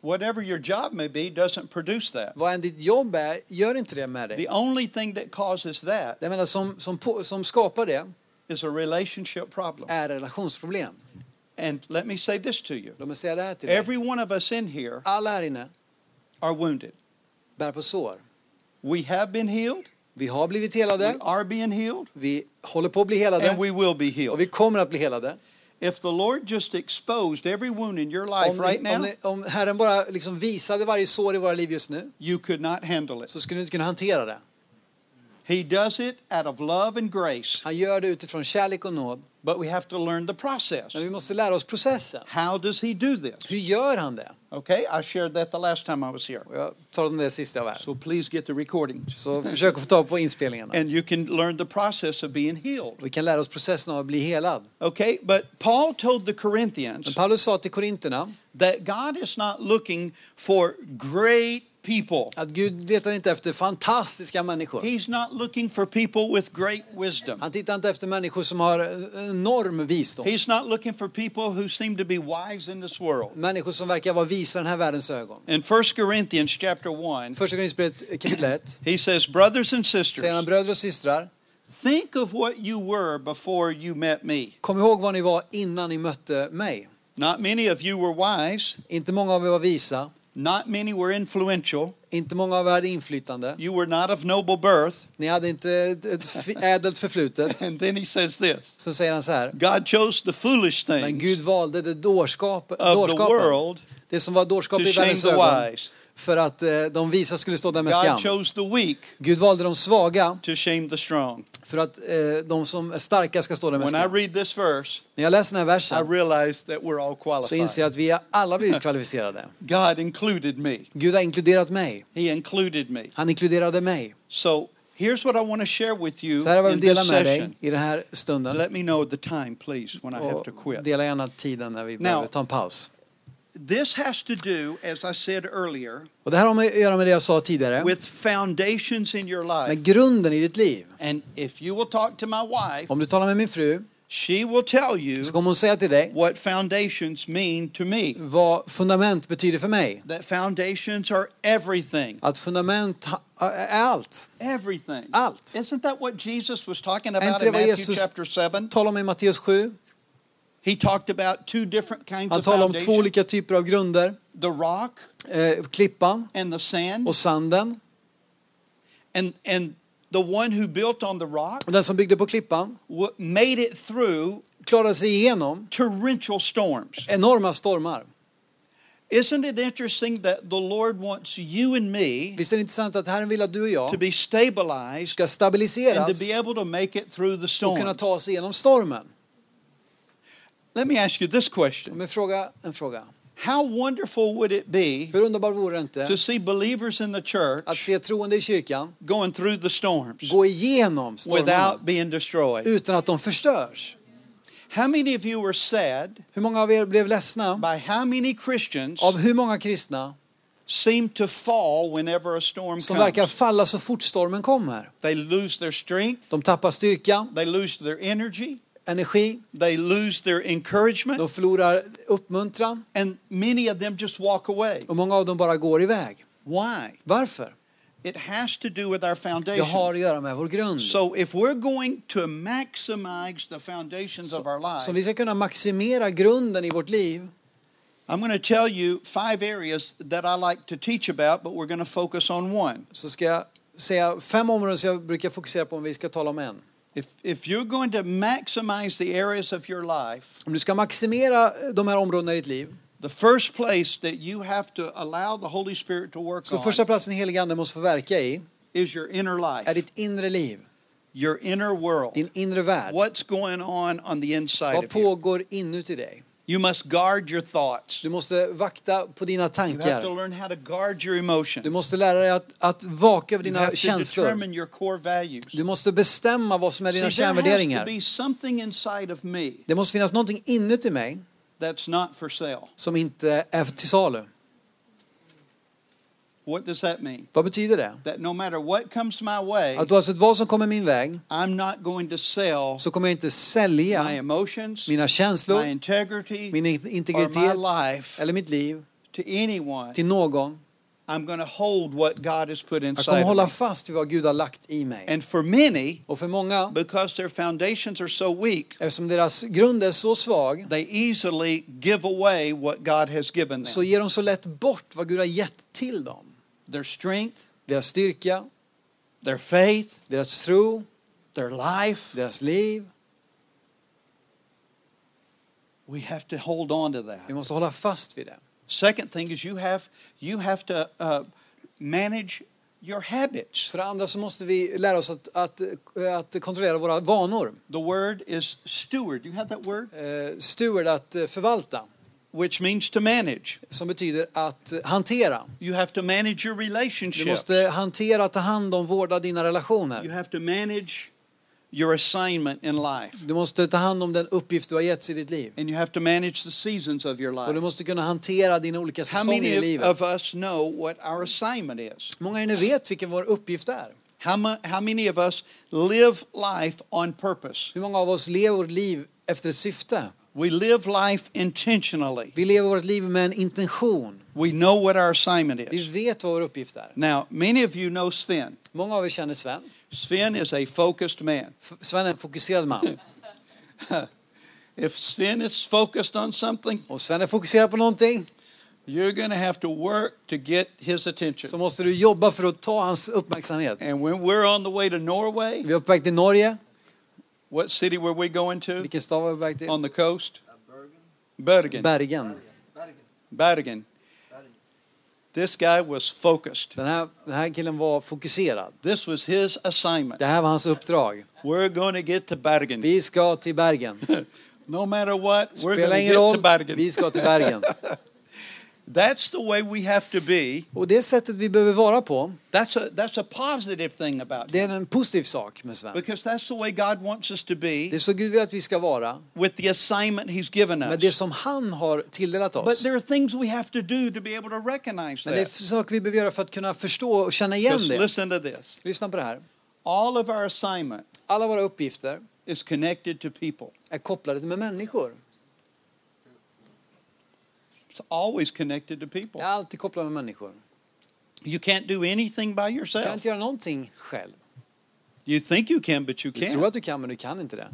B: Whatever your job may be doesn't produce that.
C: Vad än ditt jobb är, gör inte det med dig.
B: The only thing that causes that
C: Jag menar, som, som, på, som skapar det
B: is a relationship problem.
C: är relationsproblem.
B: And let me say this to you
C: Låt mig säga det här till dig.
B: every one of us in here
C: Alla här inne
B: are wounded.
C: bär på sår.
B: We have been healed,
C: Vi har blivit
B: we
C: helade.
B: are being healed,
C: Vi håller på att bli
B: and
C: helade.
B: we will be
C: Och
B: healed.
C: vi kommer att bli helade.
B: If the Lord just exposed every wound in your
C: Om,
B: life right
C: ni, om,
B: now,
C: ni, om Herren bara liksom visade varje sår i våra liv just nu
B: you could not handle it.
C: så skulle du inte kunna hantera det.
B: He does it out of love and grace,
C: Han gör det utifrån kärlek och nåd.
B: but we have to learn the process.
C: Men vi måste lära oss processen.
B: How does He do this?
C: Hur gör han det?
B: Okay, I shared that the last time I was here.
C: Och jag tar om det sista jag var här.
B: So please get the recordings.
C: Så försök att få tag på inspelningarna.
B: And you can learn the process of being healed.
C: Vi kan lära oss processen av att bli helad.
B: Okay, but Paul told the
C: Men
B: Corinthians
C: Paulus sa till korinterna
B: that God is not looking for great people.
C: att Gud letar inte efter fantastiska människor.
B: He's not looking for people with great wisdom.
C: Han tittar inte efter människor som har enorm visdom.
B: He's not looking for people who seem to be wise in this world.
C: Människor som verkar vara visa i den här världens ögon.
B: In 1 Corinthians chapter 1,
C: Första Korinthierbrevet kapitel 1
B: he says, "Brothers and
C: säger han
B: sisters,
C: bröder och systrar,
B: think of what you were before you met me.
C: kom ihåg vad ni var innan ni mötte mig.
B: Not many of you were wise,
C: Inte många av er var visa,
B: not many were influential.
C: inte många av er hade inflytande.
B: You were not of noble birth."
C: Ni hade inte ett, ett f- ädelt förflutet.
B: And then he says this,
C: Så säger han så här,
B: "God chose the foolish
C: men Gud
B: things
C: valde det dårskap,
B: of the
C: dårskapen,
B: world
C: det som var dårskap
B: to
C: i
B: shame
C: världens
B: the
C: ögon,
B: wise.
C: för att eh, de visa skulle stå där med
B: God
C: skam.
B: chose the weak
C: Gud valde de svaga
B: to shame the strong."
C: för att eh, de som är starka ska stå där med
B: When I
C: skam.
B: read this verse,
C: När jag läser den
B: I
C: här versen
B: realize that we're all
C: så inser
B: qualified.
C: jag att vi alla blivit kvalificerade.
B: God included me.
C: Gud har inkluderat mig.
B: He included me.
C: Han inkluderade mig.
B: So here's what I want to share with you
C: Så här har jag
B: in
C: vill dela
B: this
C: med dig
B: session.
C: i den här stunden.
B: Let me know the time, please, when I have
C: Och
B: to quit.
C: dela gärna tiden när vi behöver ta en paus.
B: This has to do, as I said earlier,
C: Och det här har med- att göra med det jag sa tidigare.
B: with foundations in your life.
C: Med grunden i ditt liv.
B: And if you will talk to my wife,
C: Om du talar med min fru
B: she will tell you
C: så kommer hon säga till dig
B: what foundations mean to me.
C: vad fundament betyder för mig.
B: That foundations are everything.
C: Att fundament ha- är allt.
B: Everything.
C: Allt.
B: Isn't that what Jesus was talking
C: inte
B: about
C: det
B: in
C: vad
B: Matthew
C: Jesus-
B: chapter 7?
C: Tala om i Matteus 7.
B: He talked about two different kinds
C: Han
B: of
C: talar om två
B: foundations
C: olika typer av grunder.
B: the rock
C: Eh, klippan
B: and the sand.
C: och sanden.
B: And, and the one who built on the rock
C: Och den som byggde på klippan
B: w- made it through
C: klarade sig igenom
B: torrential storms.
C: enorma stormar.
B: Isn't it interesting that the Lord wants you and me
C: Visst är det intressant att Herren vill att du och
B: to
C: jag
B: be stabilized
C: ska
B: and
C: stabiliseras
B: to be able to make it through the
C: och kunna
B: storm?
C: ta oss igenom stormen?
B: Let me ask you this question
C: Men fråga en fråga.
B: How wonderful would it be
C: Hur underbart vore det inte
B: to see believers in the
C: att
B: church
C: se troende i kyrkan
B: going through the storms
C: gå igenom stormarna
B: without being destroyed?
C: utan att de förstörs?
B: How many of you were sad
C: Hur många av er blev ledsna
B: by how many Christians
C: av hur många kristna
B: seem to fall whenever a storm
C: som verkar
B: comes?
C: falla så fort stormen kommer?
B: They lose their strength,
C: De tappar styrka,
B: they lose their energy,
C: energi,
B: they lose their encouragement,
C: de förlorar uppmuntran
B: and many of them just walk away.
C: och många av dem bara går iväg.
B: Why?
C: Varför?
B: It has to do with our
C: Det har
B: foundation.
C: att göra med vår grund.
B: So if we're going to maximize the foundations of our life,
C: Så vi ska kunna maximera grunden i vårt liv.
B: I'm going to tell you five areas that I like to teach about, but we're going to focus on one.
C: Så ska jag säga fem områden som jag brukar fokusera på om vi ska tala om en.
B: If if you're going to maximize the areas of your life,
C: Om du ska maximera de här områdena i ditt liv
B: the first place that you have to allow the Holy Spirit to work
C: så
B: on
C: första platsen helige Ande måste få verka i
B: is your inner life,
C: är ditt inre liv,
B: your inner world.
C: din inre värld.
B: What's going on on the inside
C: Vad
B: of you?
C: pågår inuti dig?
B: You must guard your thoughts.
C: Du måste vakta på dina
B: You have to
C: tankar.
B: learn how to guard your emotions.
C: Du måste lära dig att, att vaka över
B: you
C: dina
B: have to
C: känslor.
B: determine your core values.
C: Du måste bestämma vad som är
B: See,
C: dina
B: there has to
C: kärnvärderingar.
B: be something inside of me
C: Det måste finnas någonting inuti mig
B: that's not for sale.
C: som inte är till salu.
B: What does that mean?
C: Vad betyder det?
B: That no matter what comes my way,
C: Att oavsett vad som kommer min väg
B: I'm not going to sell
C: så kommer jag inte
B: my
C: sälja
B: emotions,
C: mina
B: my
C: känslor,
B: integrity,
C: min in-
B: or my
C: integritet
B: life
C: eller mitt liv
B: to anyone.
C: till någon.
B: I'm going to hold what God has put
C: Jag kommer
B: inside.
C: hålla
B: Of me.
C: fast vid vad Gud har lagt i mig.
B: And for many,
C: Och för många,
B: because their foundations are so weak,
C: eftersom deras grund är så svag,
B: they easily give away what God has given
C: så
B: them.
C: ger de så lätt bort vad Gud har gett till dem.
B: Their strength,
C: Deras styrka,
B: their faith,
C: deras tro,
B: their life.
C: deras liv.
B: We have to hold on to
C: Vi
B: that.
C: måste hålla fast vid det.
B: Second thing is you have you have to uh, manage your habits.
C: För det andra så måste vi lära oss att, att, att kontrollera våra vanor.
B: The word is steward. You have that word,
C: Eh, steward, att eh, förvalta,
B: which means to manage.
C: som betyder att eh, hantera.
B: You have to manage your
C: Du
B: relationship.
C: måste hantera, ta hand om, vårda dina
B: You
C: relationer.
B: have to manage your assignment in life,
C: Du måste ta hand om den uppgift du har getts i ditt liv.
B: and you have to manage the seasons of your
C: Och du
B: life.
C: måste kunna hantera dina olika
B: How
C: säsonger i
B: many of-
C: livet.
B: of us know what our assignment is?
C: Många av er nu vet vilken vår uppgift är.
B: How, mu- how many of us live life on purpose?
C: Hur många av oss lever vårt liv efter ett syfte?
B: We live life intentionally.
C: Vi lever vårt liv med en intention.
B: We know what our assignment is.
C: Vi vet vad vår uppgift är.
B: Now, many of you know Sven.
C: Många av er känner Sven.
B: Sven is a focused man.
C: F- Sven är en fokuserad man.
B: If Sven is focused on something,
C: Om Sven är fokuserad på någonting
B: you're going to have to work to get his attention.
C: så måste du jobba för att ta hans uppmärksamhet.
B: And when we're on the way to Norway,
C: Vi är på väg till Norge.
B: what city were we going to
C: Vilken stad var vi på väg till?
B: on the coast? Uh, Bergen.
C: Bergen.
B: Bergen. This guy was focused.
C: Den här, den här killen var fokuserad.
B: This was his assignment.
C: Det här var hans uppdrag.
B: We're going to get to Bergen.
C: Vi ska till Bergen.
B: No matter what, we're going
C: Spelar
B: to
C: ingen
B: get to
C: roll,
B: Bergen.
C: vi ska till Bergen.
B: That's the way we have to be.
C: Och det sättet vi behöver vara på,
B: That's a that's a positive thing about
C: det
B: it.
C: är en positiv sak med Sven.
B: Because that's the way God wants us to
C: Det är
B: be
C: så Gud vill att vi ska vara,
B: with the assignment He's given
C: med det
B: us.
C: som han har tilldelat
B: But
C: oss.
B: there are things we have to do to be able to recognize
C: Men det är
B: that.
C: saker vi behöver göra för att kunna förstå och känna igen
B: Because
C: det.
B: listen to this.
C: Lyssna på det här.
B: All of our assignment
C: Alla våra uppgifter
B: is connected to people.
C: är kopplade med människor.
B: It's always connected to
C: Det
B: people.
C: är alltid kopplat med människor.
B: You can't do anything by
C: Du kan
B: yourself.
C: inte göra någonting själv.
B: You think you can, but you
C: Du tror
B: can't.
C: att du kan, men du kan inte det.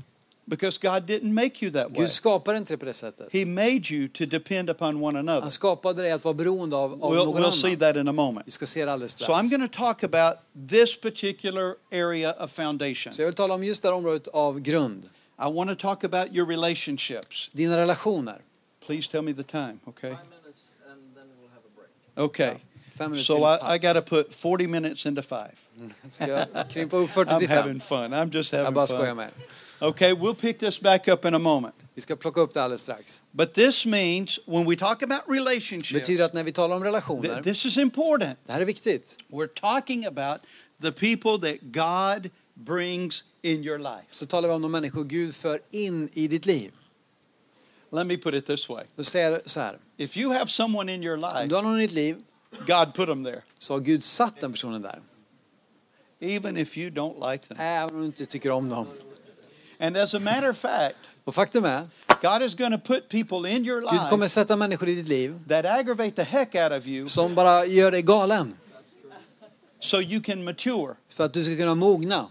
B: because God didn't make you that way.
C: Gud skapade inte det på det sättet.
B: He made you to depend upon one another.
C: Han skapade dig att vara beroende av, av
B: We'll,
C: någon
B: we'll
C: annan.
B: see that in a
C: Vi
B: moment.
C: ska se det alldeles strax.
B: So I'm going to talk about this particular area of foundation.
C: Så jag vill tala om just det här området av grund.
B: I want to talk about your relationships.
C: Dina relationer.
B: Please tell me the time,
D: Five
B: okay?
D: minutes and then we'll have a break.
B: Okay.
C: Fem minuter
B: So
C: till
B: I, I
C: paus.
B: got to put 40 minutes into five.
C: Ska jag krympa upp 40
B: I'm
C: till
B: having
C: 5?
B: fun. I'm just
C: Jag
B: having
C: bara skojar
B: fun.
C: med.
B: Okay, we'll pick this back up in a moment.
C: Vi ska plocka upp det alldeles strax.
B: But this means when we talk about
C: Det
B: relationships,
C: betyder att när vi talar om
B: th-
C: relationer,
B: this is important.
C: det här är viktigt,
B: We're talking about the people that God brings in your life.
C: så talar vi om de människor Gud för in i ditt liv.
B: Let me put it this way.
C: Då säger jag så här,
B: If you have someone in your
C: om
B: life,
C: du har någon i ditt liv
B: God put them there,
C: så har Gud satt den personen där,
B: even if you don't like them.
C: även om du inte tycker om dem.
B: And as a matter of fact,
C: Och faktum är,
B: God is going to put people in your
C: Gud kommer
B: life
C: sätta människor i ditt liv
B: that aggravate the heck out of you
C: som bara gör dig galen,
B: so you can mature
C: för att du ska kunna mogna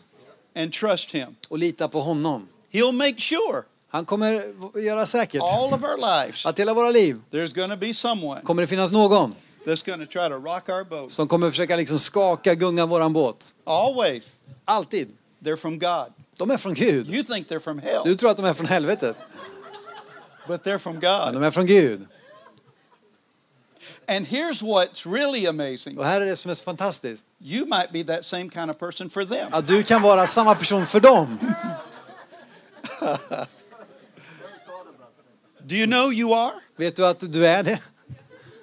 B: and trust Him.
C: och lita på honom.
B: He'll make sure
C: Han kommer göra säkert
B: all of our lives
C: att hela våra liv
B: there's going to be someone
C: kommer det finnas någon
B: that's going to try to rock our boat.
C: som kommer försöka liksom skaka, gunga våran båt.
B: Always.
C: Alltid.
B: They're from God.
C: De är från Gud.
B: You think they're from hell,
C: Du tror att de är från helvetet,
B: but they're from
C: men
B: God.
C: de är från Gud.
B: And here's what's really amazing
C: Och här är det som är så fantastiskt.
B: you might be that same kind of person for them.
C: Att du kan vara samma person för dem.
B: Do you know you are?
C: Vet du att du är det?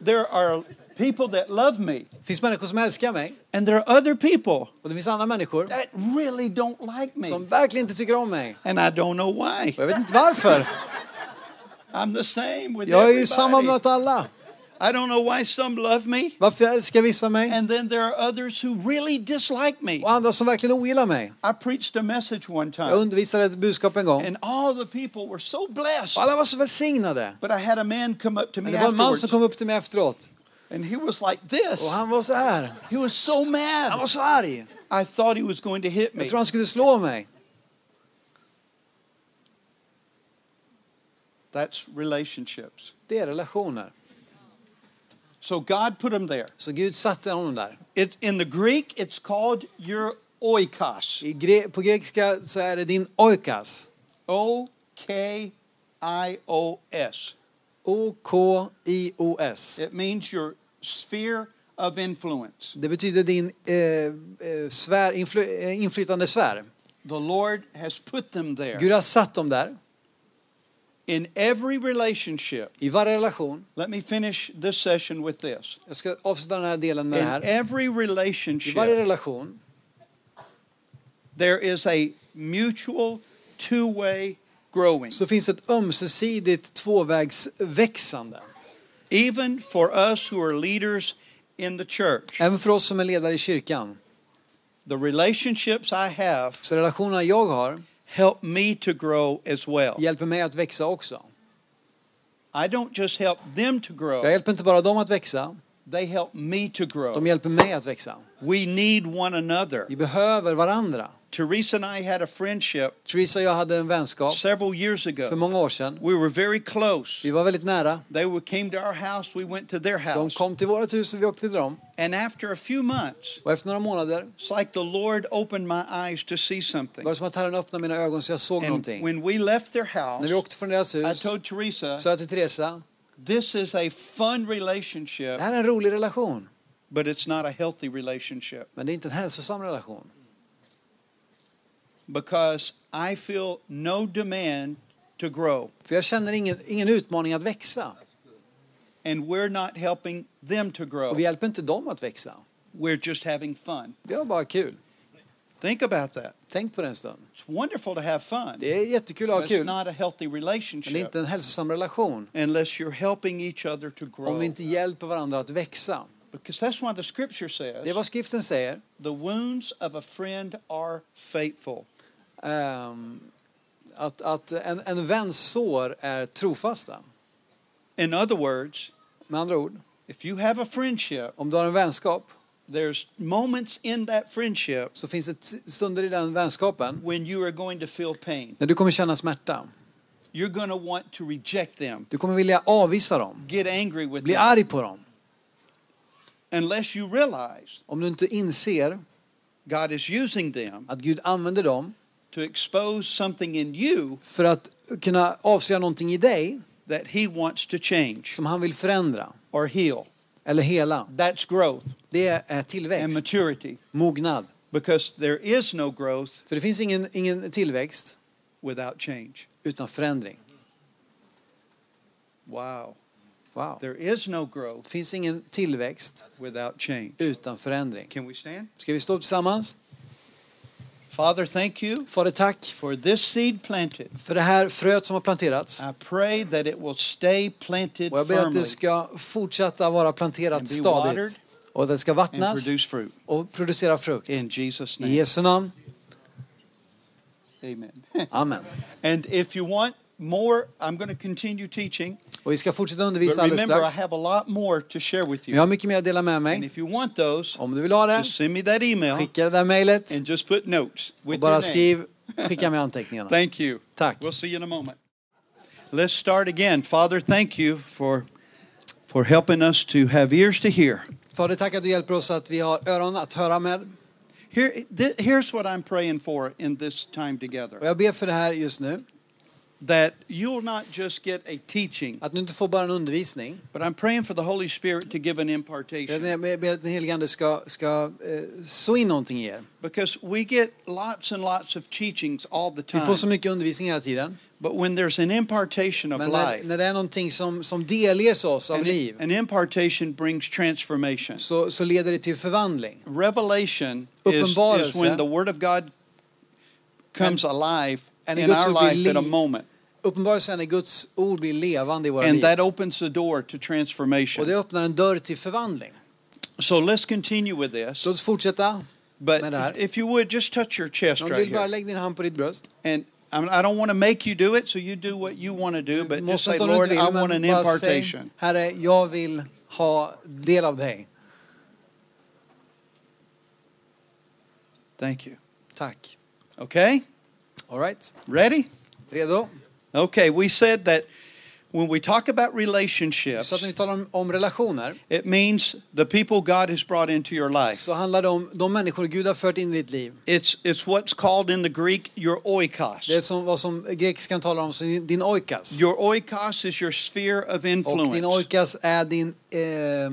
B: There are people that love me,
C: Det finns människor som älskar mig
B: and there are other people
C: och det finns andra människor
B: that really don't like me.
C: som verkligen inte tycker om mig.
B: And I don't know why.
C: Och jag vet inte varför.
B: I'm the same with
C: Jag är ju samma
B: everybody.
C: mot alla.
B: I don't know why some love me,
C: Varför älskar vissa mig
B: and then there are others who really dislike me.
C: och andra som verkligen ogillar mig?
B: I preached a message one
C: Jag
B: time,
C: undervisade ett budskap en gång
B: and all the people were so blessed.
C: och alla var så välsignade.
B: But I had a man come up to
C: Men
B: me
C: det var en man som
B: afterwards,
C: kom upp till mig efteråt
B: and he was like this.
C: och han var så här.
B: He was so
C: Han
B: mad.
C: var så arg.
B: I thought he was going to hit me.
C: Jag tror han skulle slå mig.
B: That's relationships.
C: Det är relationer.
B: So God put him there.
C: Så Gud satte honom där.
B: It, in the Greek, it's called your oikos.
C: I gre- på grekiska så är det din oikas.
B: O K I O S.
C: O-K-I-O-S.
B: It means your sphere of influence.
C: Det betyder din eh, eh, sfär, influ, eh, inflytande sfär.
B: The Lord has put them there.
C: Gud har satt dem där
B: In every relationship,
C: i varje relation.
B: let me finish this session with this.
C: Jag ska avsluta den här delen med det
B: In
C: här.
B: every
C: I varje
B: relationship,
C: relation
B: there is a mutual two way growing,
C: så finns ett ömsesidigt tvåvägsväxande.
B: even for us who are leaders in the church.
C: Även för oss som är ledare i kyrkan.
B: The relationships I have
C: Så relationerna jag har
B: help me to grow as well.
C: hjälper mig att växa också.
B: I don't just help them to
C: Jag
B: grow,
C: hjälper inte bara dem att växa,
B: they help me to
C: de
B: grow.
C: hjälper mig att växa.
B: We need one another.
C: Vi behöver varandra.
B: Teresa and I had a friendship
C: Theresa och jag hade en vänskap
B: several years
C: för
B: ago.
C: många år sedan.
B: We were very close.
C: Vi var väldigt nära.
B: They were- came to our house, we went to their
C: De
B: house.
C: kom till vårt hus och vi åkte till dem.
B: And after a few months,
C: Och efter några månader
B: it's like the Lord opened my eyes to see something.
C: var det som att Herren öppnade mina ögon så jag såg
B: And
C: någonting.
B: when we left their
C: När vi
B: house,
C: åkte från deras
B: I
C: hus
B: told Teresa,
C: sa jag till Teresa,
B: this is a fun
C: det
B: relationship,
C: här är en rolig relation,
B: but it's not a healthy relationship
C: men det är inte en hälsosam relation.
B: because I feel no demand to grow.
C: För jag känner ingen, ingen utmaning att växa.
B: and we're not helping them to grow.
C: Och vi hjälper inte dem att växa.
B: We're just having fun.
C: Det var bara kul.
B: Think about that.
C: Tänk på det en stund.
B: It's wonderful to have fun.
C: Det är jättekul att
B: but
C: ha
B: it's
C: kul,
B: not a healthy
C: men det är
B: relationship
C: inte en hälsosam relation.
B: unless you're helping each other to
C: Om
B: grow.
C: vi inte hjälper varandra att växa.
B: Because that's why the scripture
C: Det är
B: says
C: vad skriften säger.
B: the wounds of a friend are faithful.
C: Ehm, att att en, en väns sår är trofasta.
B: In other words,
C: Med andra ord,
B: if you have a friendship
C: om du har en vänskap
B: There's moments in that friendship
C: så finns det t- stunder i den vänskapen
B: when you are going to feel pain.
C: när du kommer känna smärta.
B: You're going to want to reject them,
C: Du kommer vilja avvisa dem,
B: get angry with
C: bli
B: them,
C: arg på dem.
B: unless you realize
C: Om du inte inser
B: God is using them
C: att Gud använder dem
B: to expose something in you
C: för att kunna avslöja någonting i dig
B: that He wants to change
C: som han vill förändra
B: or heal.
C: eller hela.
B: That's growth
C: Det är
B: and
C: tillväxt,
B: maturity
C: mognad.
B: because there is no growth
C: För det finns ingen, ingen tillväxt
B: without change.
C: utan förändring.
B: Wow.
C: Wow.
B: There is no
C: Det
B: growth
C: finns ingen tillväxt
B: without change.
C: utan förändring.
B: Can we stand?
C: Ska vi stå upp tillsammans?
B: Father, thank you
C: Fader, tack
B: for this seed planted.
C: för det här fröet som har planterats.
B: I pray that it will stay planted
C: Och jag ber att
B: firmly
C: det ska fortsätta vara planterat
B: and be watered
C: stadigt. Och att det ska
B: and
C: vattnas
B: produce fruit.
C: och producera frukt.
B: In Jesus'
C: I
B: name.
C: Jesu namn.
B: Amen.
C: Amen.
B: And if you want more, I'm going to continue teaching.
C: Och vi ska fortsätta
B: But
C: undervisa alldeles
B: remember, I
C: strax.
B: have a lot more to share with
C: Men jag
B: you.
C: har mycket mer att dela med
B: And
C: mig.
B: if you want those,
C: Om du vill ha det,
B: just send me that email
C: skicka det där mejlet
B: and just put notes
C: och
B: with your
C: bara
B: name.
C: skriv, skicka med anteckningarna.
B: Thank you.
C: Tack.
B: We'll see you in a moment. Let's start again. Father, thank you for for helping us to have ears to hear.
C: Fader, tack att du hjälper oss att vi har öron att höra med.
B: Here th- here's what I'm praying for in this time
C: Och
B: together.
C: jag ber för det här just nu.
B: That you'll not just get a teaching,
C: Att du inte får bara en undervisning.
B: but I'm praying for the Holy Spirit to give an impartation
C: Jag ber ber att den helige Ande ska, ska eh, så in någonting i er.
B: because we get lots and lots of teachings all the
C: Vi får så
B: time.
C: mycket undervisning hela tiden.
B: But when there's an impartation of
C: Men när,
B: life,
C: när det är någonting som, som delges oss av
B: an,
C: liv
B: an impartation brings transformation.
C: så, så leder det till förvandling.
B: Revelation is, is
C: Uppenbarelse.
B: when the Word of God comes alive
C: and it
B: in
C: goes
B: our
C: to
B: life at a
C: believe-
B: moment.
C: Uppenbarelsen är när Guds ord blir levande i våra
B: And
C: liv.
B: that opens the door to
C: Och det
B: transformation.
C: öppnar en dörr till förvandling.
B: So let's continue with
C: Så
B: this.
C: låt oss fortsätta. med det här.
B: But if you would, just touch your chest
C: Om du
B: right
C: vill bara
B: here.
C: lägg din hand på ditt bröst.
B: And I mean, I don't want to make you do it, so you do what you want to do. But just
C: Måste
B: say,
C: inte om du inte
B: Lord, I
C: vill,
B: want an
C: men bara säg,
B: impartation.
C: Herre, jag vill ha del av dig.
B: Thank you.
C: Tack.
B: Okay?
C: All right.
B: Ready?
C: Redo?
B: Okay, we said that when we talk about relationships,
C: Så att när vi talar om, om relationer
B: it means the people God has brought into your life.
C: så handlar det om de människor Gud har fört in i ditt liv.
B: It's it's what's called in the Greek your
C: Det är
B: oikos.
C: som, vad som grekiskan talar om som din, din oikas.
B: Your oikos is your sphere of
C: Och din
B: influence.
C: oikas är din eh,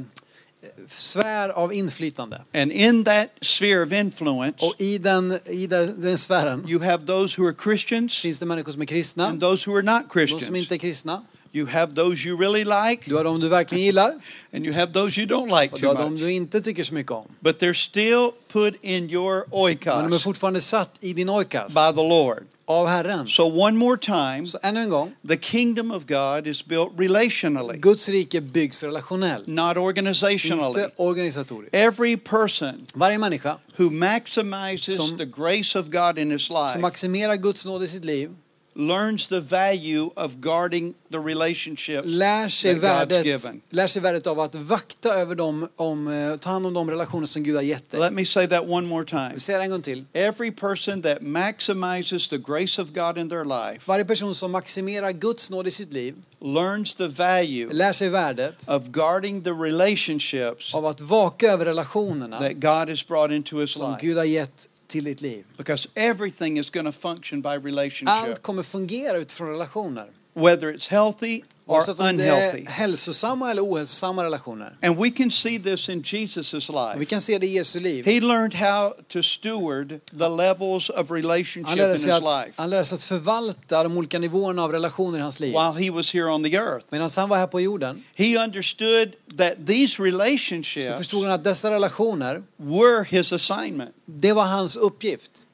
C: sfär av inflytande.
B: And in that sphere of influence,
C: Och i den, i den, den sfären
B: you have those who are Christians
C: finns det människor som är kristna,
B: and those who are not
C: de som
B: Christians.
C: inte är kristna.
B: You have those you really like
C: Du har de du verkligen gillar
B: and you have those you don't like
C: och du
B: too
C: har de du
B: much.
C: inte tycker så mycket om.
B: But they're still put in your
C: Men de är
B: oikos
C: fortfarande satt i din oikas
B: by the Lord.
C: av Herren.
B: So one more time,
C: Så ännu en gång,
B: the kingdom of God is built relationally,
C: Guds rike byggs relationellt,
B: not
C: inte
B: organizationally.
C: organisatoriskt.
B: Every person
C: Varje människa
B: who maximizes
C: Som-
B: the grace of God in his life
C: som maximerar Guds nåd i sitt liv
B: learns the value of guarding the relationships
C: lär sig,
B: that God's
C: värdet,
B: given.
C: lär sig värdet av att vakta över dem, om, eh, ta hand om de relationer som Gud har gett dig.
B: Let me say that one more time.
C: Vi säger det en gång till.
B: Every person that maximizes the grace of God in their life
C: Varje person som maximerar Guds nåd i sitt liv
B: learns the value
C: lär sig värdet
B: of guarding the relationships
C: av att vaka över relationerna
B: that God has brought into his
C: som
B: life.
C: Gud har gett till ditt liv.
B: Because everything is going to function by
C: Allt
B: relationship,
C: kommer fungera utifrån relationer.
B: whether it's healthy or
C: Oavsett om det är
B: unhealthy.
C: hälsosamma eller ohälsosamma relationer.
B: And we can see this in Jesus'
C: Och vi
B: life.
C: kan se det i Jesu liv.
B: He learned how to steward the levels of
C: Han
B: relationship in
C: lärde,
B: his
C: sig att,
B: life
C: han lärde sig att förvalta de olika nivåerna av relationer i hans liv.
B: while he was here on the earth.
C: Medan han var här på jorden
B: He understood that these
C: så
B: relationships
C: förstod han att dessa relationer
B: were his assignment.
C: Det var hans uppgift.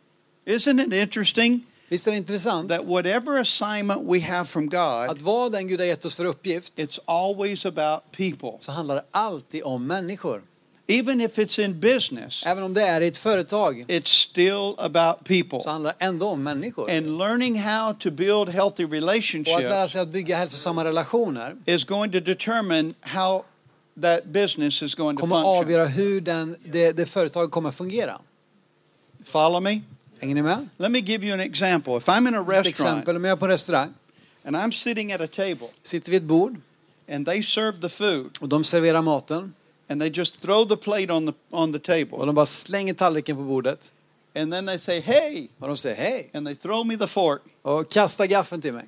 B: Isn't it interesting
C: Visst är det intressant?
B: that whatever assignment we have from
C: Att
B: God,
C: vad den Gud har gett oss för uppgift
B: it's always about people.
C: så handlar det alltid om människor.
B: Even if it's in business,
C: Även om det är i ett företag
B: it's still about
C: så
B: people.
C: handlar det ändå om människor.
B: And learning how to build healthy
C: Och att lära
B: relationships
C: sig att bygga hälsosamma relationer
B: is going to determine how that business is going to
C: kommer att
B: function.
C: avgöra hur den, det, det företaget kommer att fungera.
B: Follow me?
C: Hänger ni med?
B: Let me give you an example. If I'm in a
C: Till
B: restaurant
C: exempel om jag är på restaurang,
B: and I'm sitting at a table
C: sitter vid ett bord
B: and they serve the food
C: och de serverar maten
B: and they just throw the plate on the on the
C: och
B: table
C: de bara slänger tallriken på bordet
B: and then they say, "Hey,"
C: och de säger hej
B: and they throw me the fork
C: och kastar gaffeln till mig.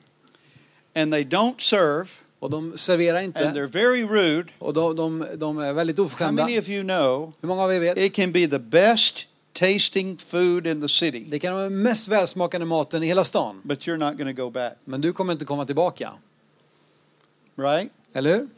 B: and they don't serve
C: Och de serverar
B: and they're
C: inte
B: very rude.
C: och de, de, de är väldigt
B: How
C: oförskämda.
B: many of you know
C: Hur många av er vet?
B: it can be the best tasting food in the city,
C: Det kan vara den mest välsmakande maten i hela stan.
B: but you're not going to go back,
C: Men du kommer inte komma tillbaka,
B: right?
C: eller hur?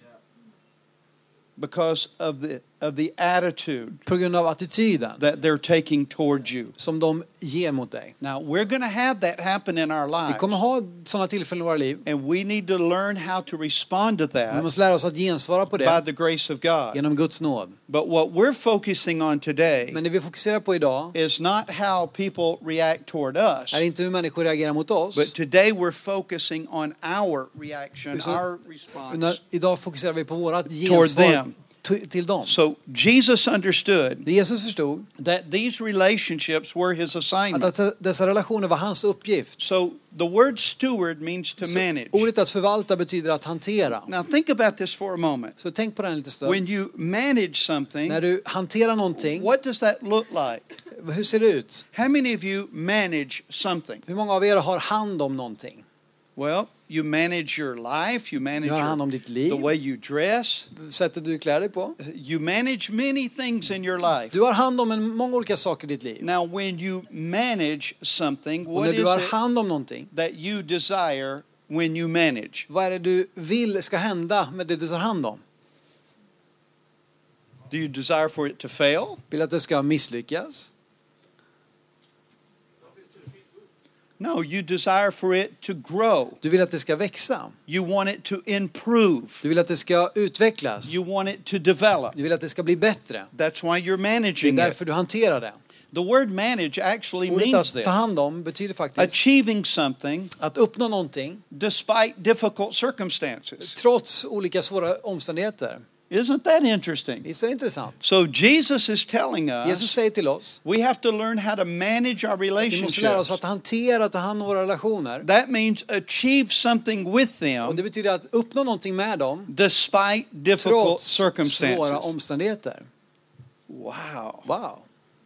B: Because of the of the attitude
C: På grund av attityden
B: that they're taking towards you.
C: som de ger mot dig.
B: Now, we're going to have that happen in our
C: Vi
B: lives.
C: kommer ha sådana tillfällen i våra liv.
B: And we need to learn how to respond to
C: Vi
B: that
C: måste lära oss att gensvara på
B: by
C: det
B: the grace of God.
C: genom Guds nåd.
B: But what we're focusing on today
C: Men det vi fokuserar på idag
B: is not how people react toward us,
C: är inte hur människor reagerar mot
B: but
C: oss.
B: today we're focusing on our reaction,
C: Så-
B: our
C: Utan
B: response.
C: idag fokuserar vi på vårt
B: them.
C: gensvar t- till dem.
B: So Jesus understood
C: Det Jesus förstod
B: that these relationships were his
C: att
B: assignment.
C: dessa- dessa relationer var hans uppgift.
B: So the word steward means to
C: Så
B: manage.
C: Ordet att förvalta betyder att hantera.
B: Now think about this for a moment.
C: Så tänk på den lite stund.
B: When you manage
C: När
B: something,
C: du hanterar någonting,
B: what does that look like?
C: hur ser det ut?
B: How many of you manage something?
C: Hur många av er har hand om någonting?
B: Well, you manage your life, you manage
C: Du har hand
B: your,
C: om ditt
B: the
C: liv,
B: way you dress,
C: sättet du klär dig på.
B: you manage many things in your life.
C: Du har hand om en, många olika saker i ditt liv.
B: Now, when you manage something,
C: Och
B: what
C: när
B: is
C: du har
B: it
C: hand om någonting,
B: that you desire when you manage?
C: vad är det du vill ska hända med det du tar hand om?
B: Do you desire for it to fail?
C: Vill du att det ska misslyckas?
B: No, you desire for it to grow.
C: Du vill att det ska växa.
B: You want it to improve.
C: Du vill att det ska utvecklas.
B: You want it to develop.
C: Du vill att det ska bli bättre.
B: That's why you're
C: Det är
B: managing it.
C: därför du hanterar det.
B: The word manage actually
C: Ordet
B: means
C: att
B: this
C: ta hand om betyder faktiskt
B: achieving something
C: att uppnå någonting
B: despite difficult circumstances.
C: trots olika svåra omständigheter.
B: Isn't that interesting?
C: Visst är det intressant?
B: So Jesus is telling
C: Jesus
B: us
C: säger till oss
B: we have to learn how to manage our
C: vi måste lära
B: relationships.
C: oss att hantera, ta hand om våra relationer.
B: That means achieve something with
C: Och
B: them
C: det betyder att uppnå någonting med dem
B: despite difficult
C: trots svåra
B: circumstances.
C: omständigheter.
B: Wow.
C: Wow,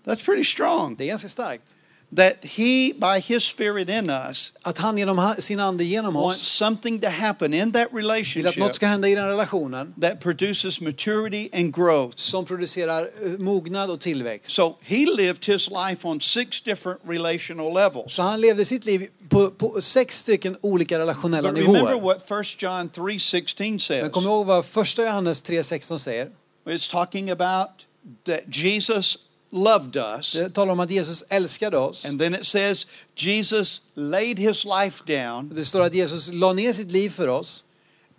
B: That's pretty strong.
C: det är ganska starkt.
B: That he by his spirit in us
C: Att han genom ha- sin ande genom
B: wants
C: oss
B: something to happen in that
C: vill att
B: relationship
C: något ska hända i den relationen
B: that produces maturity and growth.
C: som producerar eh, mognad och tillväxt.
B: So he lived his life on six different relational levels.
C: Så han levde sitt liv på, på sex stycken olika relationella
B: But remember
C: nivåer.
B: what 1 John 3:16
C: Men
B: says.
C: kom ihåg vad första Johannes 3.16 säger.
B: It's talking about that Jesus loved us.
C: Det talar om att Jesus älskade oss.
B: And then it says Jesus laid his life down.
C: Det står att Jesus la ner sitt liv för oss.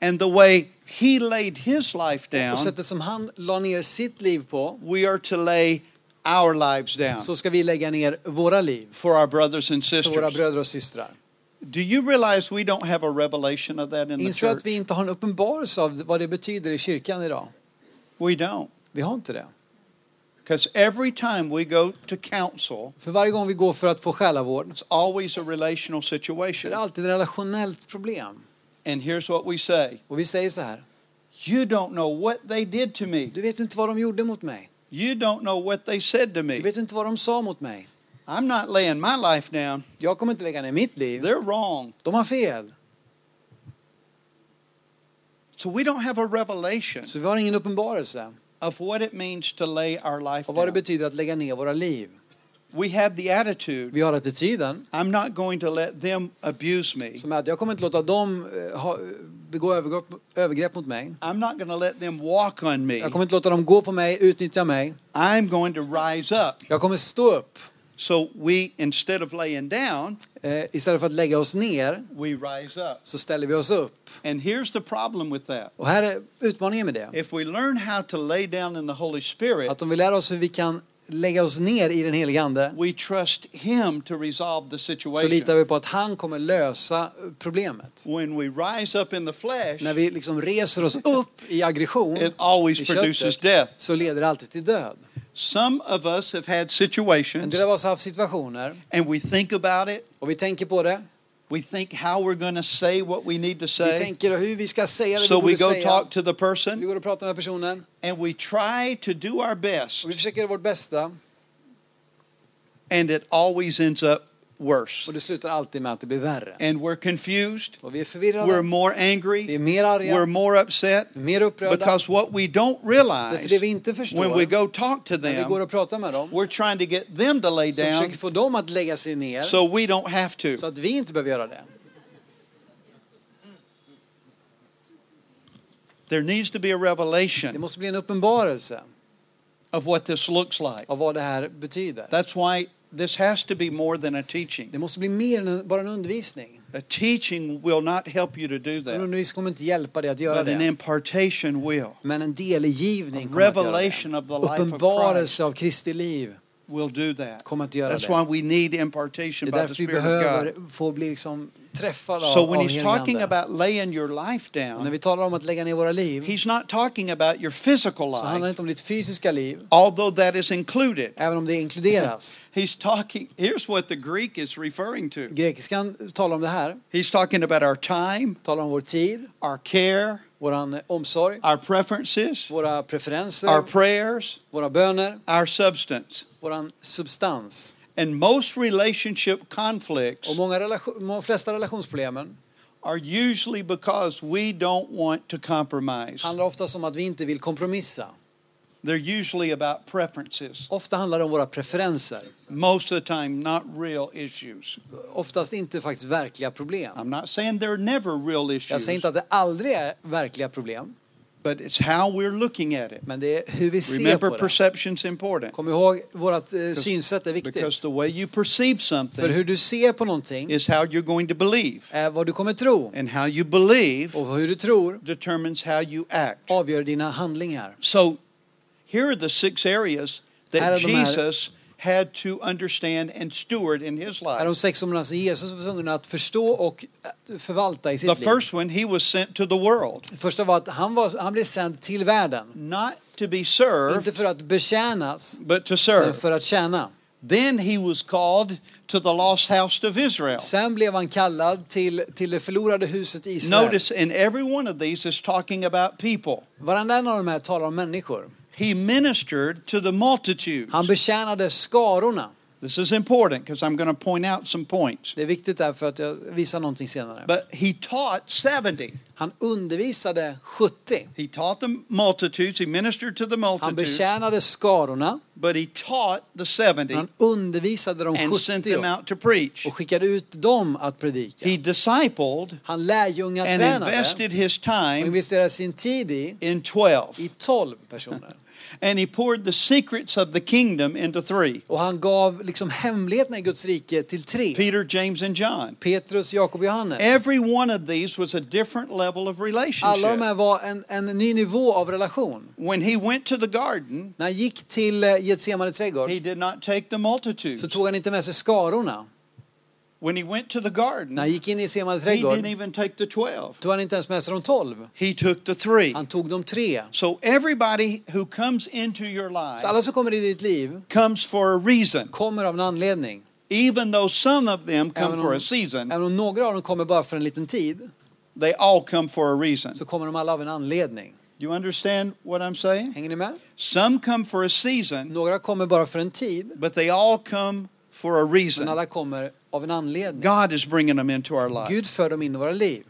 B: And the way he laid his life down,
C: Och sättet som han la ner sitt liv på
B: we are to lay our lives down
C: så ska vi lägga ner våra liv
B: for our brothers and
C: för våra
B: sisters.
C: bröder och systrar.
B: Do you realize we don't have a revelation of that in the
C: Inser
B: church?
C: att vi inte har en uppenbarelse av vad det betyder i kyrkan idag.
B: We don't.
C: Vi har inte det.
B: Because every time we go to counsel,
C: För varje gång vi går för att få själavård
B: it's always a relational
C: så är
B: situation.
C: det alltid ett relationellt problem.
B: And here's what we say
C: Och vi säger så här.
B: You don't know what they did to me.
C: Du vet inte vad de gjorde mot mig.
B: You don't know what they said to
C: Du
B: me.
C: vet inte vad de sa mot mig.
B: I'm not laying my life down.
C: Jag kommer inte lägga ner mitt liv.
B: They're wrong.
C: De har fel.
B: So we don't have a revelation
C: Så vi har ingen uppenbarelse
B: of what it means to lay our life
C: av vad det
B: down.
C: betyder att lägga ner våra liv.
B: We have the attitude,
C: Vi har attityden
B: I'm not going to let them abuse me.
C: som är att jag kommer inte låta dem eh, ha, begå övergrepp, övergrepp mot mig.
B: I'm not going to let them walk on me.
C: Jag kommer inte låta dem gå på mig, utnyttja mig.
B: I'm going to rise up.
C: Jag kommer stå upp.
B: So we, instead of laying down,
C: Eh, istället för att lägga oss ner
B: we rise up.
C: så ställer vi oss upp.
B: And here's the problem with that.
C: Och här är utmaningen med det.
B: If we learn how to lay down in the Holy Spirit,
C: Att om vi lär oss hur vi kan lägga oss ner i den helige Ande
B: we trust Him to resolve the
C: så litar
B: situation.
C: vi på att han kommer lösa problemet.
B: When we rise up in the flesh,
C: När vi liksom reser oss upp i aggression
B: it always
C: i
B: produces
C: köttet
B: death.
C: så leder det alltid till död.
B: Some of us have had
C: En
B: situations
C: del av oss har haft situationer
B: and we think about it.
C: och vi tänker på det.
B: We think how we're going to say what we need to
C: Vi
B: say.
C: tänker hur vi ska säga det
B: So we
C: vi borde
B: go
C: säga.
B: talk to the
C: Vi
B: person
C: går och pratar med personen
B: and we try to do our best,
C: och vi försöker göra vårt bästa
B: and it always ends up worse.
C: och det slutar alltid med att det blir värre.
B: And we're confused,
C: Och vi är
B: we're
C: förvirrade,
B: more
C: vi är
B: angry,
C: mer
B: we're
C: arga,
B: more upset
C: mer upprörda.
B: because what we don't
C: Därför det
B: realize
C: vi inte förstår,
B: when we go talk to
C: när vi går
B: them,
C: och pratar med dem,
B: we're trying to get them to lay
C: så
B: down
C: försöker få dem att lägga sig ner
B: so we don't have to.
C: så att vi inte behöver göra det.
B: There needs to be a
C: Det
B: revelation
C: måste bli en uppenbarelse
B: of what this looks like.
C: av vad det här betyder.
B: That's why this has to be more than a teaching.
C: Det måste bli mer än en- bara en undervisning.
B: A teaching will not help you to do
C: En
B: that,
C: undervisning kommer inte hjälpa dig att göra
B: but an
C: det.
B: impartation will.
C: Men en
B: A
C: delgivning kommer att göra det.
B: revelation of the life of Christ
C: Uppenbarelse av Kristi liv
B: will do that.
C: kommer att göra
B: That's why
C: det.
B: we need
C: Det
B: impartation
C: är
B: by the
C: därför vi
B: Spirit of God.
C: behöver få bli liksom träffade av,
B: typ So when
C: av
B: he's talking
C: heligande.
B: about laying your life
C: Och när
B: down,
C: vi talar om att lägga ner våra liv
B: he's not talking about your physical
C: så handlar det
B: life,
C: inte om ditt fysiska liv,
B: although that is included.
C: även om det inkluderas.
B: He's talking, here's what the Greek is referring to.
C: Grekiskan talar om det här,
B: He's talking about our time,
C: talar om vår tid,
B: our care,
C: vår omsorg,
B: our preferences,
C: våra
B: our
C: preferenser,
B: prayers,
C: våra böner,
B: our substance.
C: vår substans.
B: And most relationship conflicts
C: Och många relation, de flesta relationsproblemen
B: are usually because we don't want to compromise.
C: handlar ofta om att vi inte vill kompromissa.
B: They're usually about preferences,
C: Ofta handlar det om våra preferenser,
B: most of the time, not real issues.
C: oftast inte faktiskt verkliga problem.
B: I'm not saying they're never real
C: Jag
B: issues,
C: säger inte att det aldrig är verkliga problem,
B: but it's how we're looking at it.
C: men det är hur vi ser
B: Remember,
C: på det.
B: perception's important
C: Kom ihåg, vårt eh, synsätt är viktigt.
B: because the way you perceive
C: För
B: something
C: hur du ser på någonting
B: is how you're going to believe,
C: är vad du kommer tro.
B: and how you believe
C: Och hur du tror
B: determines how you act.
C: avgör dina handlingar.
B: So here are the six areas
C: Här
B: that
C: är de här-
B: Jesus had to understand and steward in his
C: Är de
B: life.
C: sex områdena som Jesus var tvungen att förstå och att förvalta
B: The
C: i sitt liv.
B: first one, he was sent to the world,
C: Det första var att han, var, han blev sänd till världen.
B: not to be
C: Inte
B: served,
C: för att betjänas,
B: but to
C: men
B: serve.
C: för att tjäna.
B: Then he was called to the lost house of Israel.
C: Sen blev han kallad till, till det förlorade huset i Israel.
B: Notice in every one of these is talking about people.
C: Varenda en av de här talar om människor.
B: He ministered to the multitudes.
C: Han betjänade skarorna.
B: This is important because I'm going to point out some points.
C: Det är viktigt där för att jag visar någonting senare.
B: But he taught 70.
C: Han undervisade 70.
B: He taught the multitudes. He ministered to the
C: Han
B: multitudes.
C: betjänade skarorna,
B: But he taught the 70
C: han undervisade de
B: and sent them
C: 70
B: out to preach.
C: och skickade ut dem att predika.
B: He discipled
C: Han
B: and
C: lärjungatränade
B: invested his
C: och
B: time
C: investerade sin tid i,
B: in
C: i
B: 12.
C: 12 personer.
B: And he poured the secrets of the kingdom into three
C: Och han gav liksom hemligheterna i Guds rike till tre.
B: Peter, James, and John.
C: Petrus, Jakob och Johannes.
B: Every one of these was a different level of
C: Alla de
B: relationship.
C: här var en, en ny nivå av relation.
B: When he went to the garden,
C: När han gick till eh, Getsemane trädgård
B: he did not take the
C: så
B: multitudes.
C: tog han inte med sig skarorna.
B: When he went to the
C: När han
B: garden,
C: gick in i Getsemane
B: he
C: trädgård
B: didn't even take the 12.
C: tog han inte ens med sig de tolv.
B: He took the three.
C: Han tog de tre.
B: So everybody who comes into your life
C: Så alla som kommer in i ditt liv
B: comes for a reason.
C: kommer av en anledning.
B: Even though some of them come
C: Även
B: for
C: om-
B: a season,
C: Även om några av dem kommer bara för en liten tid
B: they all come for a reason.
C: så kommer de alla av en anledning.
B: You understand what I'm saying?
C: Hänger ni med?
B: Some come for a season,
C: Några kommer bara för en tid,
B: but they all come for a
C: men
B: reason.
C: alla kommer av en anledning.
B: God is bringing them into our life.
C: Gud för dem in i våra liv.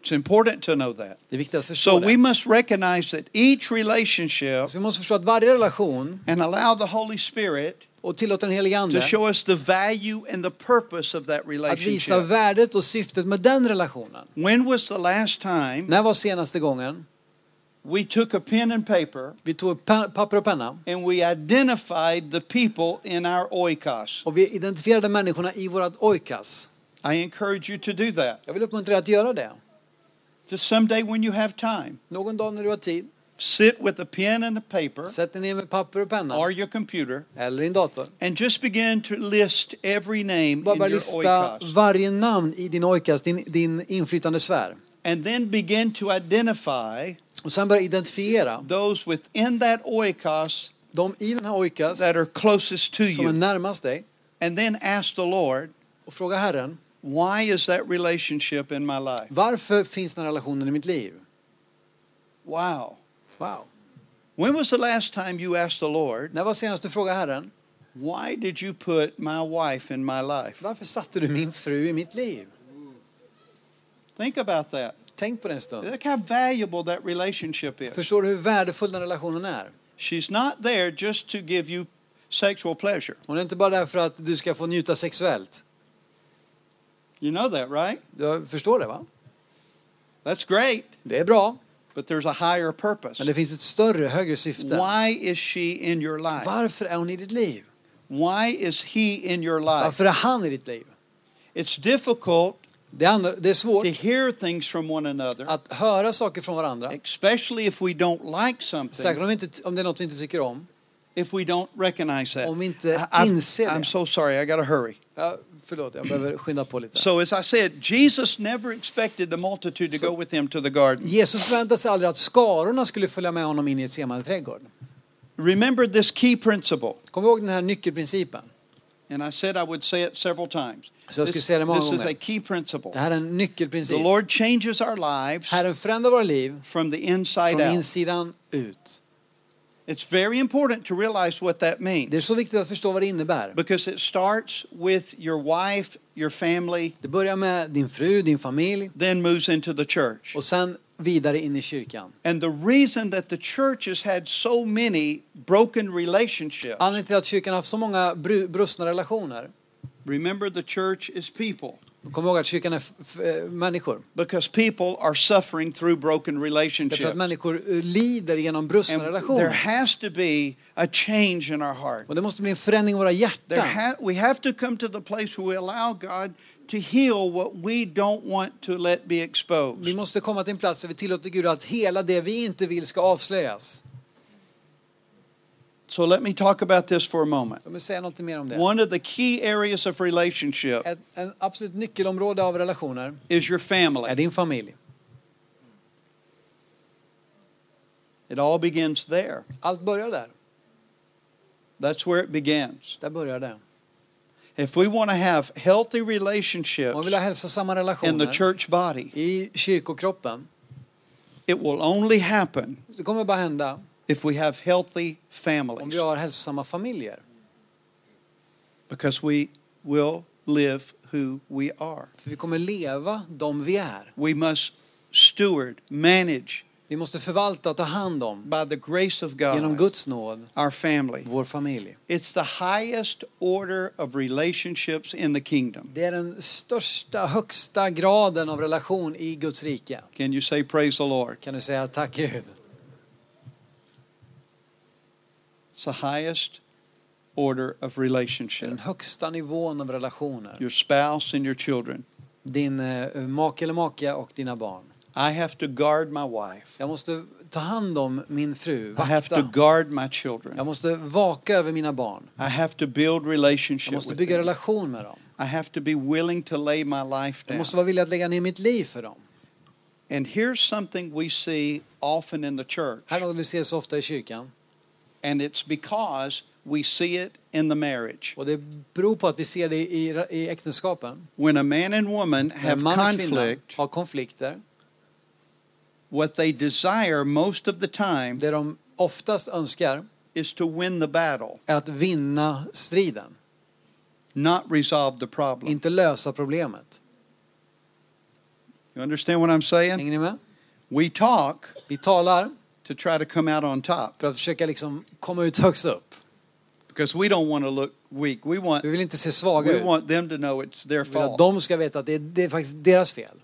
B: It's important to know that.
C: Det är viktigt att förstå
B: So
C: det.
B: we must recognize that each relationship
C: Så vi måste förstå att varje relation
B: and allow the Holy Spirit
C: och tillåta den helige
B: to
C: Ande
B: show us the value and the purpose of that
C: att visa
B: relationship.
C: värdet och syftet med den relationen.
B: When was the last time
C: När var senaste gången
B: we took a pen and paper
C: vi tog pe- papper och penna
B: and we identified the people in our oikos?
C: och vi identifierade människorna i vårat oikas?
B: I encourage you to do that.
C: Jag vill uppmuntra dig att göra det.
B: Just someday when you have time,
C: Någon dag när du har tid,
B: Sit with a pen and a paper
C: Sätt dig ner med papper och penna.
B: or your computer
C: Eller din dator.
B: and just begin to list every name
C: Bara
B: in
C: bara
B: your
C: lista
B: oikos.
C: varje namn i din oikas, din, din inflytande sfär.
B: And then begin to identify
C: Och sen börja identifiera
B: those within that oikos
C: de i den här oikas
B: that are closest to
C: som är
B: you.
C: närmast dig
B: And then ask the Lord,
C: och fråga Herren,
B: why is that relationship in my life?
C: varför finns den här relationen i mitt liv?
B: Wow.
C: Wow.
B: When was the last time you asked the Lord,
C: När var senast du frågade Herren,
B: why did you put my wife in my life?
C: varför satte du min fru i mitt liv?
B: Think about that.
C: Tänk på det en stund.
B: Look how valuable that relationship is.
C: Förstår du hur värdefull den relationen är?
B: She's not there just to give you sexual pleasure.
C: Hon är inte bara där för att du ska få njuta sexuellt.
B: You know that, right?
C: Jag förstår det va?
B: That's great,
C: Det är bra,
B: but there's a higher purpose.
C: men det finns ett större, högre syfte.
B: Why is she in your life?
C: Varför är hon i ditt liv?
B: Why is he in your life?
C: Varför är han i ditt liv?
B: It's difficult
C: Det är, andra, det är svårt
B: to hear things from one another,
C: att höra saker från varandra.
B: especially if we don't like
C: Särskilt
B: something,
C: om, vi inte, om det är något vi inte tycker om.
B: if we don't recognize that.
C: Om vi inte
B: I- I've-
C: inser
B: I'm
C: det.
B: so sorry, I got to hurry.
C: Ja, förlåt, jag behöver skynda på lite.
B: So, as I said, Jesus never expected the multitude to
C: So-
B: go with him to the garden.
C: Jesus förväntade sig aldrig att skarorna skulle följa med honom in i Getsemane trädgård.
B: Remember this key principle,
C: Kom ihåg den här nyckelprincipen.
B: and I said I would say it several times.
C: Så jag skulle
B: This,
C: säga det många
B: this is a
C: gånger.
B: key principle.
C: Det här är en
B: The
C: nyckelprincip.
B: Lord changes our lives
C: Herren förändrar våra liv
B: from the inside
C: från
B: out.
C: insidan ut.
B: It's very important to realize what that
C: Det är
B: means
C: så viktigt att förstå vad det innebär.
B: because it starts with your wife, your family,
C: Det börjar med din fru, din familj
B: then moves into the church.
C: och sen vidare in i kyrkan.
B: And the reason that the church has had so many broken relationships,
C: Anledningen till att kyrkan har haft så många bru- brustna relationer.
B: remember the church is people
C: Kom ihåg att kyrkan är f- f- eh, människor.
B: because people are suffering through broken
C: Därför att
B: relationships.
C: människor eh, lider genom brustna
B: And there
C: relationer.
B: has to be a change in our heart.
C: Och det måste bli en förändring i våra
B: There
C: hjärtan.
B: ha- we have to come to the place where we allow God to heal what we don't want to let be
C: Vi
B: exposed.
C: måste komma till en plats där vi tillåter Gud att hela det vi inte vill ska avslöjas.
B: So let me talk about this for a moment.
C: Jag vill säga något mer om det.
B: One of the key areas of relationship
C: Ett en absolut nyckelområde av relationer
B: is your
C: är
B: family.
C: din familj.
B: It all begins there.
C: Allt börjar där.
B: That's where it begins.
C: Där börjar det.
B: If we want to have healthy
C: Om vi
B: relationships
C: vill ha hälsosamma
B: in the
C: relationer
B: church body,
C: i kyrkokroppen,
B: it will only happen
C: det kommer bara hända
B: if we have healthy
C: om vi
B: families
C: har hälsosamma familjer.
B: because we will live who we are.
C: För vi kommer leva de vi är.
B: We must steward, manage
C: Vi måste förvalta och ta hand om,
B: by the grace of
C: genom
B: God
C: Guds nåd,
B: our family.
C: vår familj.
B: It's the highest order of relationships in the kingdom.
C: Det är den största, högsta graden av relation i Guds rike.
B: Can you say praise the Lord?
C: Kan du säga tack Gud?
B: It's the highest order of
C: Det är den
B: relationship.
C: högsta nivån av relationer.
B: Your spouse and your children.
C: Din eh, make eller maka och dina barn.
B: I have to guard my wife.
C: Jag måste ta hand om min fru,
B: I have to
C: vakta.
B: guard my children.
C: Jag måste vaka över mina barn.
B: I have to build
C: Jag
B: relationship
C: måste
B: with
C: bygga
B: them.
C: relation med dem.
B: I have to be willing to lay my life
C: Jag
B: down.
C: måste vara villig att lägga ner mitt liv för dem.
B: And here's something we see often in the church,
C: Här är något vi ser så ofta i kyrkan.
B: and it's because we see it in the marriage.
C: Och det beror på att vi ser det i, i äktenskapen.
B: When a man and woman
C: När
B: have
C: man och kvinna
B: conflict,
C: har konflikter.
B: what they desire most of the time
C: Det de oftast önskar
B: is to win the battle,
C: är att vinna striden.
B: not resolve the problem.
C: Inte lösa problemet.
B: You understand what I'm saying?
C: Hänger ni med?
B: We talk
C: Vi talar
B: to try to come out on top
C: för att försöka liksom komma ut högst upp.
B: because we don't want to look weak. We want
C: Vi vill inte se svaga
B: we
C: ut.
B: want them to know it's their
C: Vi vill att
B: fault.
C: de ska veta att det är, det är faktiskt deras fel.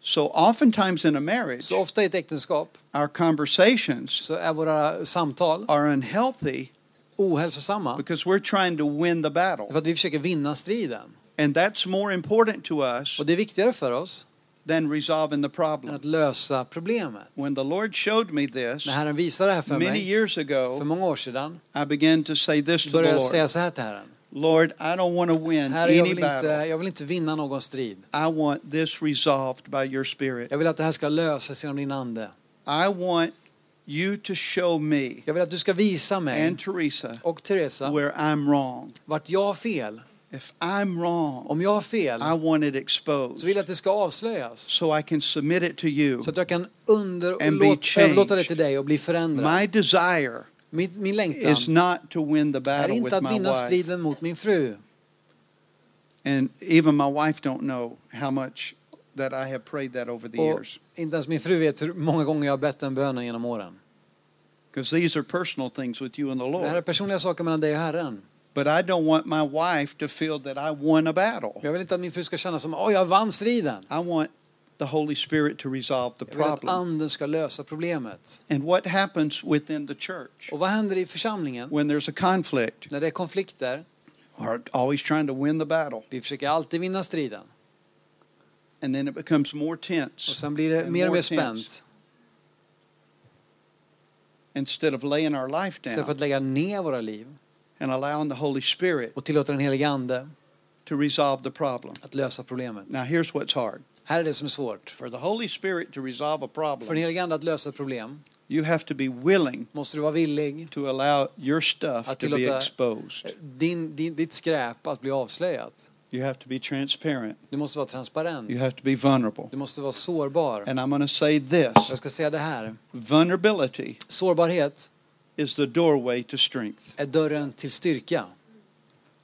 B: So oftentimes in a marriage,
C: Så ofta i ett äktenskap
B: our conversations
C: så är våra samtal
B: are unhealthy
C: ohälsosamma.
B: because we're trying to win the
C: För
B: battle.
C: att vi försöker vinna striden.
B: And that's more important to us
C: Och det är viktigare för oss
B: than resolving the
C: än
B: problem.
C: att lösa problemet.
B: When the Lord showed me this
C: När Herren visade det här för
B: many
C: mig
B: years
C: för
B: ago,
C: många år sedan
B: I began to say this to
C: började
B: the
C: jag
B: Lord
C: säga så här till Herren.
B: Lord, I don't want to win
C: Herre, jag
B: any
C: vill, inte,
B: battle.
C: jag vill inte vinna någon strid.
B: I want this resolved by your Spirit.
C: Jag vill att det här ska lösas genom din ande.
B: I want you to show me
C: Jag vill att du ska visa mig
B: and Teresa
C: och Teresa
B: where I'm wrong.
C: vart jag har fel.
B: If I'm wrong,
C: Om jag har fel
B: I want it
C: så
B: exposed
C: vill jag att det ska avslöjas.
B: so I can submit it to you.
C: Så att jag kan under,
B: And be
C: låt, överlåta det
B: changed.
C: till dig och bli förändrad.
B: My desire
C: Min, min längtan
B: is not to win the
C: är
B: battle
C: inte
B: with
C: att
B: my
C: vinna
B: wife.
C: striden mot min fru.
B: And even my wife don't know how much that I have prayed that over the
C: Och-
B: years
C: Inte ens min fru vet hur många gånger jag har bett den bönen genom åren.
B: because these are personal things with you and the
C: Det här är
B: Lord.
C: personliga saker mellan dig och Herren.
B: But I don't want my wife to feel that I won a battle.
C: Jag vill inte att min fru ska känna som åh, jag vann striden.
B: I want the Holy Spirit to resolve the
C: Jag vill att
B: problem.
C: anden ska lösa problemet.
B: And what happens within the church
C: Och vad händer i församlingen
B: when there's a conflict?
C: när det är konflikter?
B: We're always trying to win the battle,
C: Vi försöker alltid vinna striden.
B: and then it becomes more
C: Och
B: tense
C: sen blir det
B: And
C: mer och
B: more
C: mer
B: tense.
C: spänt.
B: instead of laying our life
C: Istället för
B: down
C: att lägga ner våra liv
B: and allowing the Holy Spirit
C: och tillåta den helige ande
B: to resolve the problem.
C: att lösa problemet.
B: Now, here's what's hard
C: Här är det som är svårt.
B: for the Holy Spirit to resolve a
C: För den
B: problem,
C: helige ande att lösa ett problem
B: you have to be willing
C: måste du vara villig,
B: to allow your stuff
C: Att
B: to be
C: tillåta- Uh,
B: exposed.
C: din, din, ditt skräp att bli avslöjat.
B: You have to be transparent,
C: Du måste vara
B: you
C: transparent.
B: have to be vulnerable.
C: Du måste vara sårbar.
B: And I'm going to say this
C: Jag ska säga det här.
B: vulnerability
C: Sårbarhet
B: is the doorway to strength.
C: är dörren till styrka.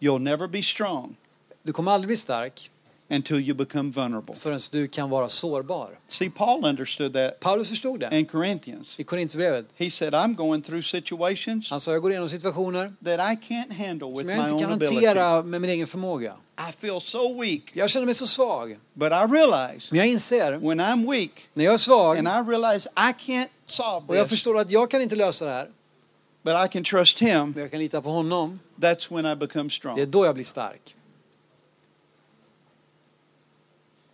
B: You'll never be strong
C: Du kommer aldrig bli stark
B: until you become vulnerable.
C: förrän du kan vara sårbar.
B: See, Paul understood that
C: Paulus förstod det
B: in Corinthians.
C: i Korinthierbrevet.
B: He said, I'm going through situations
C: Han sa, jag går igenom situationer
B: that I can't handle with
C: som
B: my
C: jag inte
B: own
C: kan
B: ability.
C: hantera med min egen förmåga.
B: I feel so weak,
C: Jag känner mig så svag.
B: but I realize
C: Men jag inser,
B: when I'm weak
C: när jag är svag
B: and I realize I can't solve
C: och jag
B: this,
C: förstår att jag kan inte lösa det här,
B: but I can trust Him,
C: men jag kan lita på honom,
B: that's when I become
C: det är
B: strong.
C: då jag blir stark.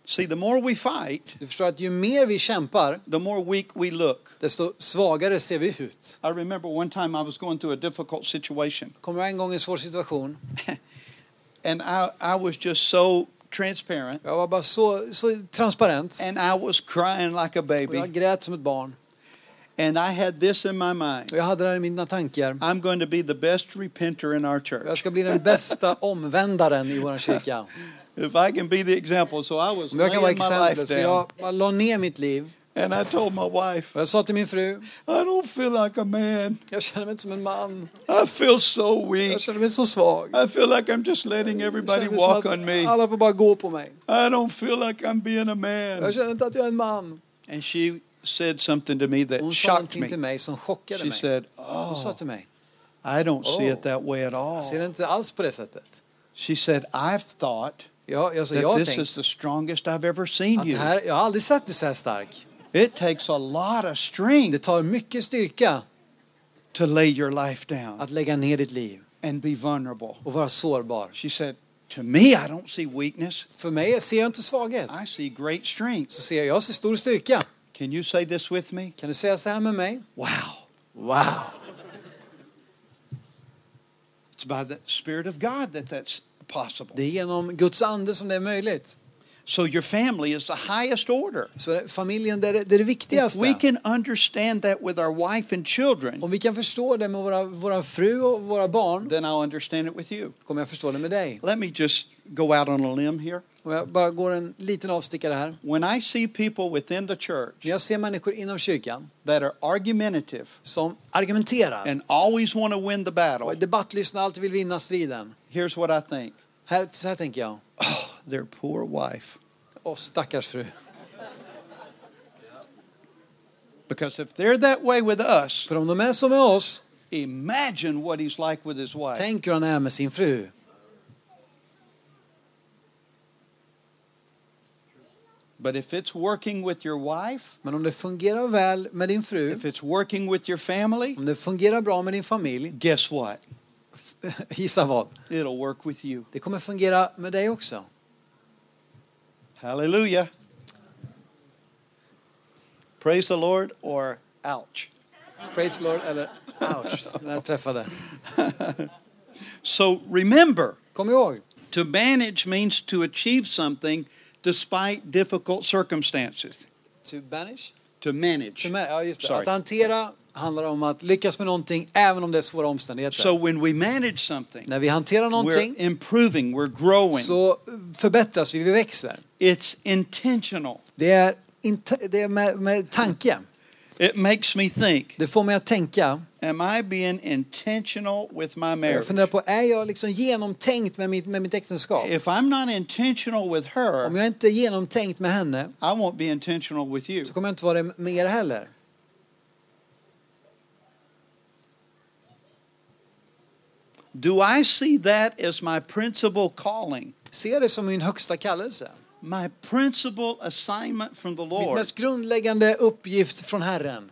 B: See, the more we fight,
C: Du förstår att ju mer vi kämpar,
B: the more weak we look.
C: desto svagare ser vi ut.
B: I remember one time I was going through a difficult situation,
C: Kommer jag en gång i en svår situation,
B: and I, I was just so transparent,
C: jag var bara så, så transparent
B: and I was crying like a
C: och jag
B: baby,
C: grät som ett barn.
B: and I had this in my mind.
C: Och jag hade det här i mina tankar.
B: I'm going to be the best repenter in our
C: Jag
B: church.
C: ska bli den bästa omvändaren i vår kyrka.
B: If I can be the example. So I was
C: Om jag kan
B: laying
C: vara
B: my life
C: exempel. Så
B: down.
C: jag jag la ner mitt liv
B: And I told my wife,
C: och jag sa till min fru,
B: I don't feel like a man.
C: jag känner mig inte som en man.
B: I feel so weak.
C: Jag känner mig så svag.
B: I feel like I'm just letting
C: Jag
B: everybody
C: känner mig som
B: walk
C: att
B: on me.
C: Alla får bara gå på mig.
B: I don't feel like I'm being a
C: Jag
B: man.
C: känner inte att jag är en man.
B: And she said something to me that
C: Hon sa
B: shocked
C: någonting till
B: me.
C: mig som chockade
B: She
C: mig.
B: said,
C: Hon sa
B: Oh,
C: till mig,
B: I don't see
C: Oh.
B: it that way at all.
C: jag ser det inte alls på det sättet.
B: She said, I've thought
C: Jag, jag, så jag
B: that
C: har
B: this
C: tänkt
B: is the strongest I've ever seen
C: att det
B: you.
C: här, jag har aldrig sett dig så här stark.
B: It takes a lot of
C: Det
B: strength
C: tar mycket styrka
B: to lay your life down
C: att lägga ner ditt liv
B: and be vulnerable.
C: och vara sårbar.
B: She said, To me, I don't see weakness.
C: För mig ser jag inte svaghet.
B: I see great
C: Så
B: strength.
C: ser jag, jag ser stor styrka.
B: Can you say this with me?
C: Kan du säga så här med mig?
B: Wow.
C: Wow!
B: It's by the Spirit of God that that's possible.
C: Det är genom Guds ande som det är möjligt.
B: So your family is the highest order.
C: Så det- familjen, det är det, det, är det
B: If
C: viktigaste.
B: we can understand that with our wife and children,
C: Om vi kan förstå det med våra, våra fru och våra barn,
B: then I'll understand it with you.
C: kommer jag förstå det med dig.
B: Let me just go out on a limb here.
C: Om jag bara går en liten avstickare här.
B: When I see people within the church
C: När jag ser människor inom kyrkan
B: that are argumentative
C: som argumenterar,
B: and always want to win the
C: och är
B: battle,
C: debattlyssnar, alltid vill vinna striden.
B: here's what I think
C: Här, så här tänker jag,
B: their poor wife.
C: åh stackars fru.
B: Because if they're that way with us,
C: För om de är som med oss,
B: imagine what he's like with his wife.
C: tänk hur han är med sin fru.
B: But if it's working with your wife,
C: Men om det fungerar väl med din fru,
B: if it's working with your family,
C: om det fungerar bra med din familj,
B: guess what?
C: gissa vad?
B: It'll work with you.
C: Det kommer fungera med dig också.
B: Hallelujah. Praise the Lord or ouch.
C: Praise the Lord eller ouch, den här träffade.
B: So remember,
C: Kom ihåg,
B: to manage means to achieve something despite difficult circumstances.
C: to banish.
B: To manage.
C: To ma- ja, just det.
B: Sorry.
C: Att hantera handlar om att lyckas med någonting även om det är svåra omständigheter.
B: So when we manage something,
C: När vi hanterar
B: we're
C: någonting
B: improving, we're growing.
C: så förbättras vi, vi växer.
B: It's intentional.
C: Det är, inte, det är med, med tanke.
B: It makes me think,
C: Det får mig att tänka.
B: am I being intentional with my
C: Jag
B: marriage?
C: funderar på, är jag liksom genomtänkt med mitt, med mitt äktenskap?
B: If I'm not intentional with
C: Om
B: her,
C: jag inte är genomtänkt med henne
B: I won't be intentional with you.
C: så kommer jag inte vara det med er heller.
B: Do I see that as my principal calling,
C: Se det som min högsta kallelse.
B: my principal assignment from the
C: Min
B: Lord?
C: mest grundläggande uppgift från Herren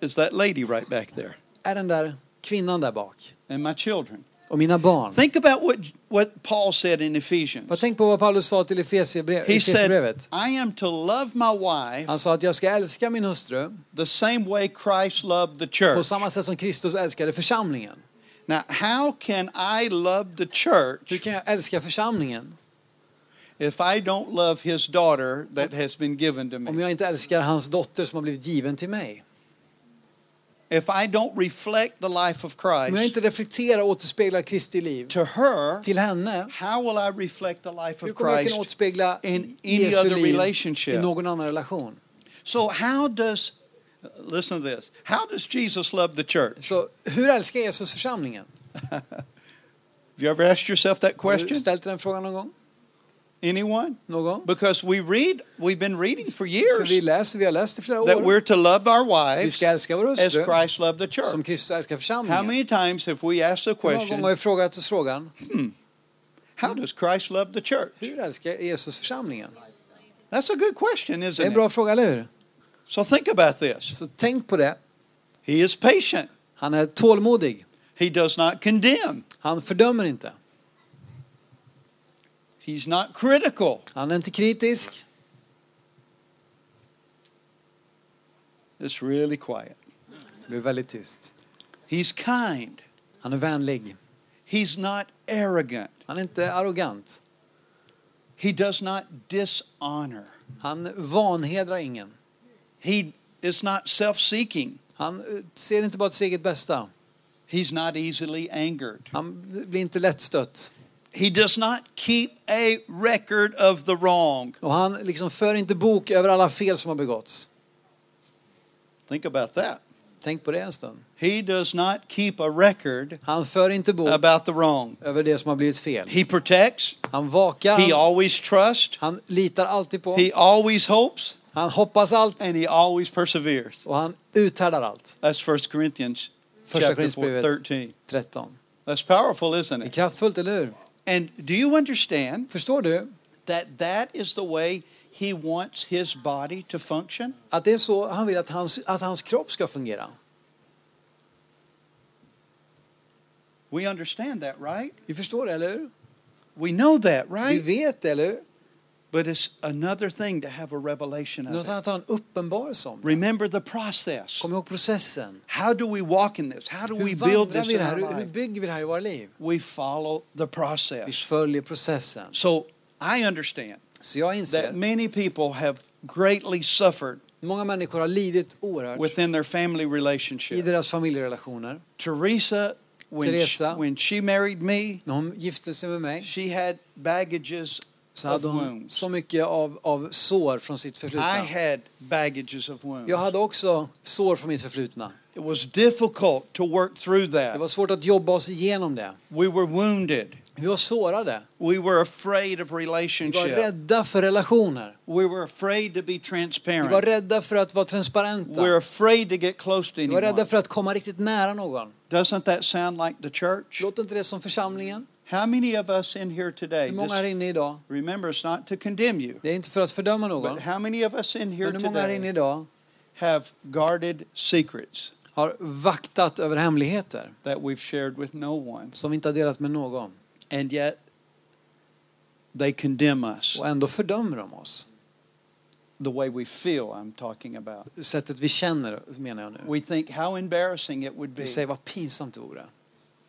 B: Is that lady right back there Uh-huh.
C: är den där kvinnan där bak
B: and my children?
C: och mina barn.
B: Think about what, what Paul said in
C: Vad
B: Ephesians.
C: tänk på vad Paulus sa till Efesierbrev-
B: He said,
C: Efesierbrevet.
B: I am to love my wife
C: Han sa att jag ska älska min hustru
B: the same way Christ loved the
C: på
B: church.
C: samma sätt som Kristus älskade församlingen.
B: Now, how can I love the
C: Hur
B: church
C: kan jag älska församlingen
B: if I don't love his daughter that has been given to
C: om
B: me?
C: jag inte älskar hans dotter som har blivit given till mig?
B: If I don't reflect the life of
C: Om jag
B: Christ
C: inte reflekterar och återspeglar Kristi liv
B: to her,
C: till henne,
B: how will I reflect the life
C: hur
B: of
C: kommer jag kunna
B: Christ
C: återspegla
B: in any
C: Jesu
B: other
C: liv i
B: relationship?
C: någon annan relation?
B: So, how does, listen to this, how does Jesus love the church?
C: Så hur älskar Jesus församlingen?
B: Have you ever asked yourself that
C: Har du
B: question?
C: ställt den frågan någon gång?
B: Anyone?
C: Någon?
B: Because we read, we've been reading for
C: För vi
B: years
C: läser, vi har läst i flera
B: that
C: år.
B: we're to love our
C: Vi
B: wives
C: ska älska vår
B: as
C: hustru
B: Christ loved the
C: som
B: church.
C: Kristus älskar
B: How
C: församlingen.
B: many times have we asked the
C: Hur många gånger
B: question,
C: har vi frågat oss frågan,
B: How does Christ love the church?
C: hur älskar Jesus församlingen?
B: That's a good question,
C: Det är en
B: isn't
C: bra
B: it?
C: fråga, eller hur?
B: So think about this.
C: Så tänk på det.
B: He is patient.
C: Han är tålmodig.
B: He does not condemn.
C: Han fördömer inte.
B: He's not critical.
C: Han är inte kritisk.
B: It's really quiet.
C: Det blir väldigt tyst.
B: He's kind.
C: Han är vänlig.
B: He's not arrogant.
C: Han är inte arrogant.
B: He does not dishonor.
C: Han vanhedrar ingen.
B: He is not self-seeking.
C: Han eh, ser inte bara till sitt eget bästa.
B: He's not easily angered.
C: Han blir inte lättstött.
B: He does not keep a record of the wrong.
C: Och han liksom för inte bok över alla fel som har begåtts.
B: Think about that.
C: Tänk på det en stund.
B: He does not keep a record
C: Han för inte bok
B: about the wrong.
C: över det som har blivit fel.
B: He protects.
C: Han vakar.
B: He
C: Han,
B: always trusts.
C: han litar alltid på.
B: He always hopes
C: Han hoppas allt.
B: and he always perseveres.
C: Och han uthärdar allt.
B: That's 1 Corinthians
C: Första
B: chapter 4,
C: Korinthierbrevet.
B: 13.
C: 13.
B: That's powerful, isn't
C: Det är
B: it?
C: kraftfullt, eller hur?
B: And do you understand
C: Förstår du?
B: that that is the way he wants his body to function?
C: Att det är så han vill att hans, att hans kropp ska fungera.
B: We understand that, right?
C: Vi förstår det, eller hur?
B: We know that,
C: Vi
B: right?
C: vet det, eller hur?
B: But it's another thing to have a revelation
C: Något
B: of it.
C: annat har en uppenbarelse om.
B: Remember the process.
C: Kom ihåg processen.
B: How do we walk in this? How do we
C: Hur
B: build
C: vandrar
B: this
C: vi
B: in
C: det här?
B: our
C: Hur, hur
B: life?
C: bygger vi det här i våra liv?
B: We follow the
C: Vi
B: process.
C: följer processen.
B: So I understand
C: Så jag
B: that
C: inser,
B: many people have greatly suffered
C: många människor har lidit oerhört
B: within their family
C: i
B: relationship.
C: deras familjerelationer.
B: Teresa, when
C: Teresa.
B: She, when she married me,
C: När hon gifte sig med mig
B: she had baggages
C: så
B: of
C: hade hon
B: wounds.
C: så mycket av, av sår från sitt
B: I
C: förflutna.
B: had baggages of wounds.
C: Jag hade också sår från mitt förflutna.
B: It was difficult to work through
C: Det
B: that.
C: var svårt att jobba oss igenom det.
B: We were wounded.
C: Vi var sårade.
B: We were afraid of
C: Vi var
B: relationship.
C: rädda för relationer.
B: We were afraid to be
C: Vi var
B: transparent.
C: rädda för att vara transparenta.
B: We're afraid to get close to
C: Vi var rädda
B: anyone.
C: för att komma riktigt nära någon.
B: Doesn't that sound like the church?
C: Låter inte det som församlingen?
B: How many of us in here today?
C: Hur många här
B: This,
C: inne idag?
B: remember, it's not to condemn you,
C: Det är inte för att fördöma någon.
B: but how many of us in here
C: Men hur många här inne
B: today
C: idag
B: have guarded secrets
C: har vaktat över hemligheter
B: that we've shared with no one,
C: som vi inte har delat med någon
B: and yet they condemn us?
C: och ändå fördömer de oss?
B: the way we feel, I'm talking about.
C: Sättet vi känner menar jag nu.
B: We think how embarrassing it would be
C: Vi säger vad pinsamt det vore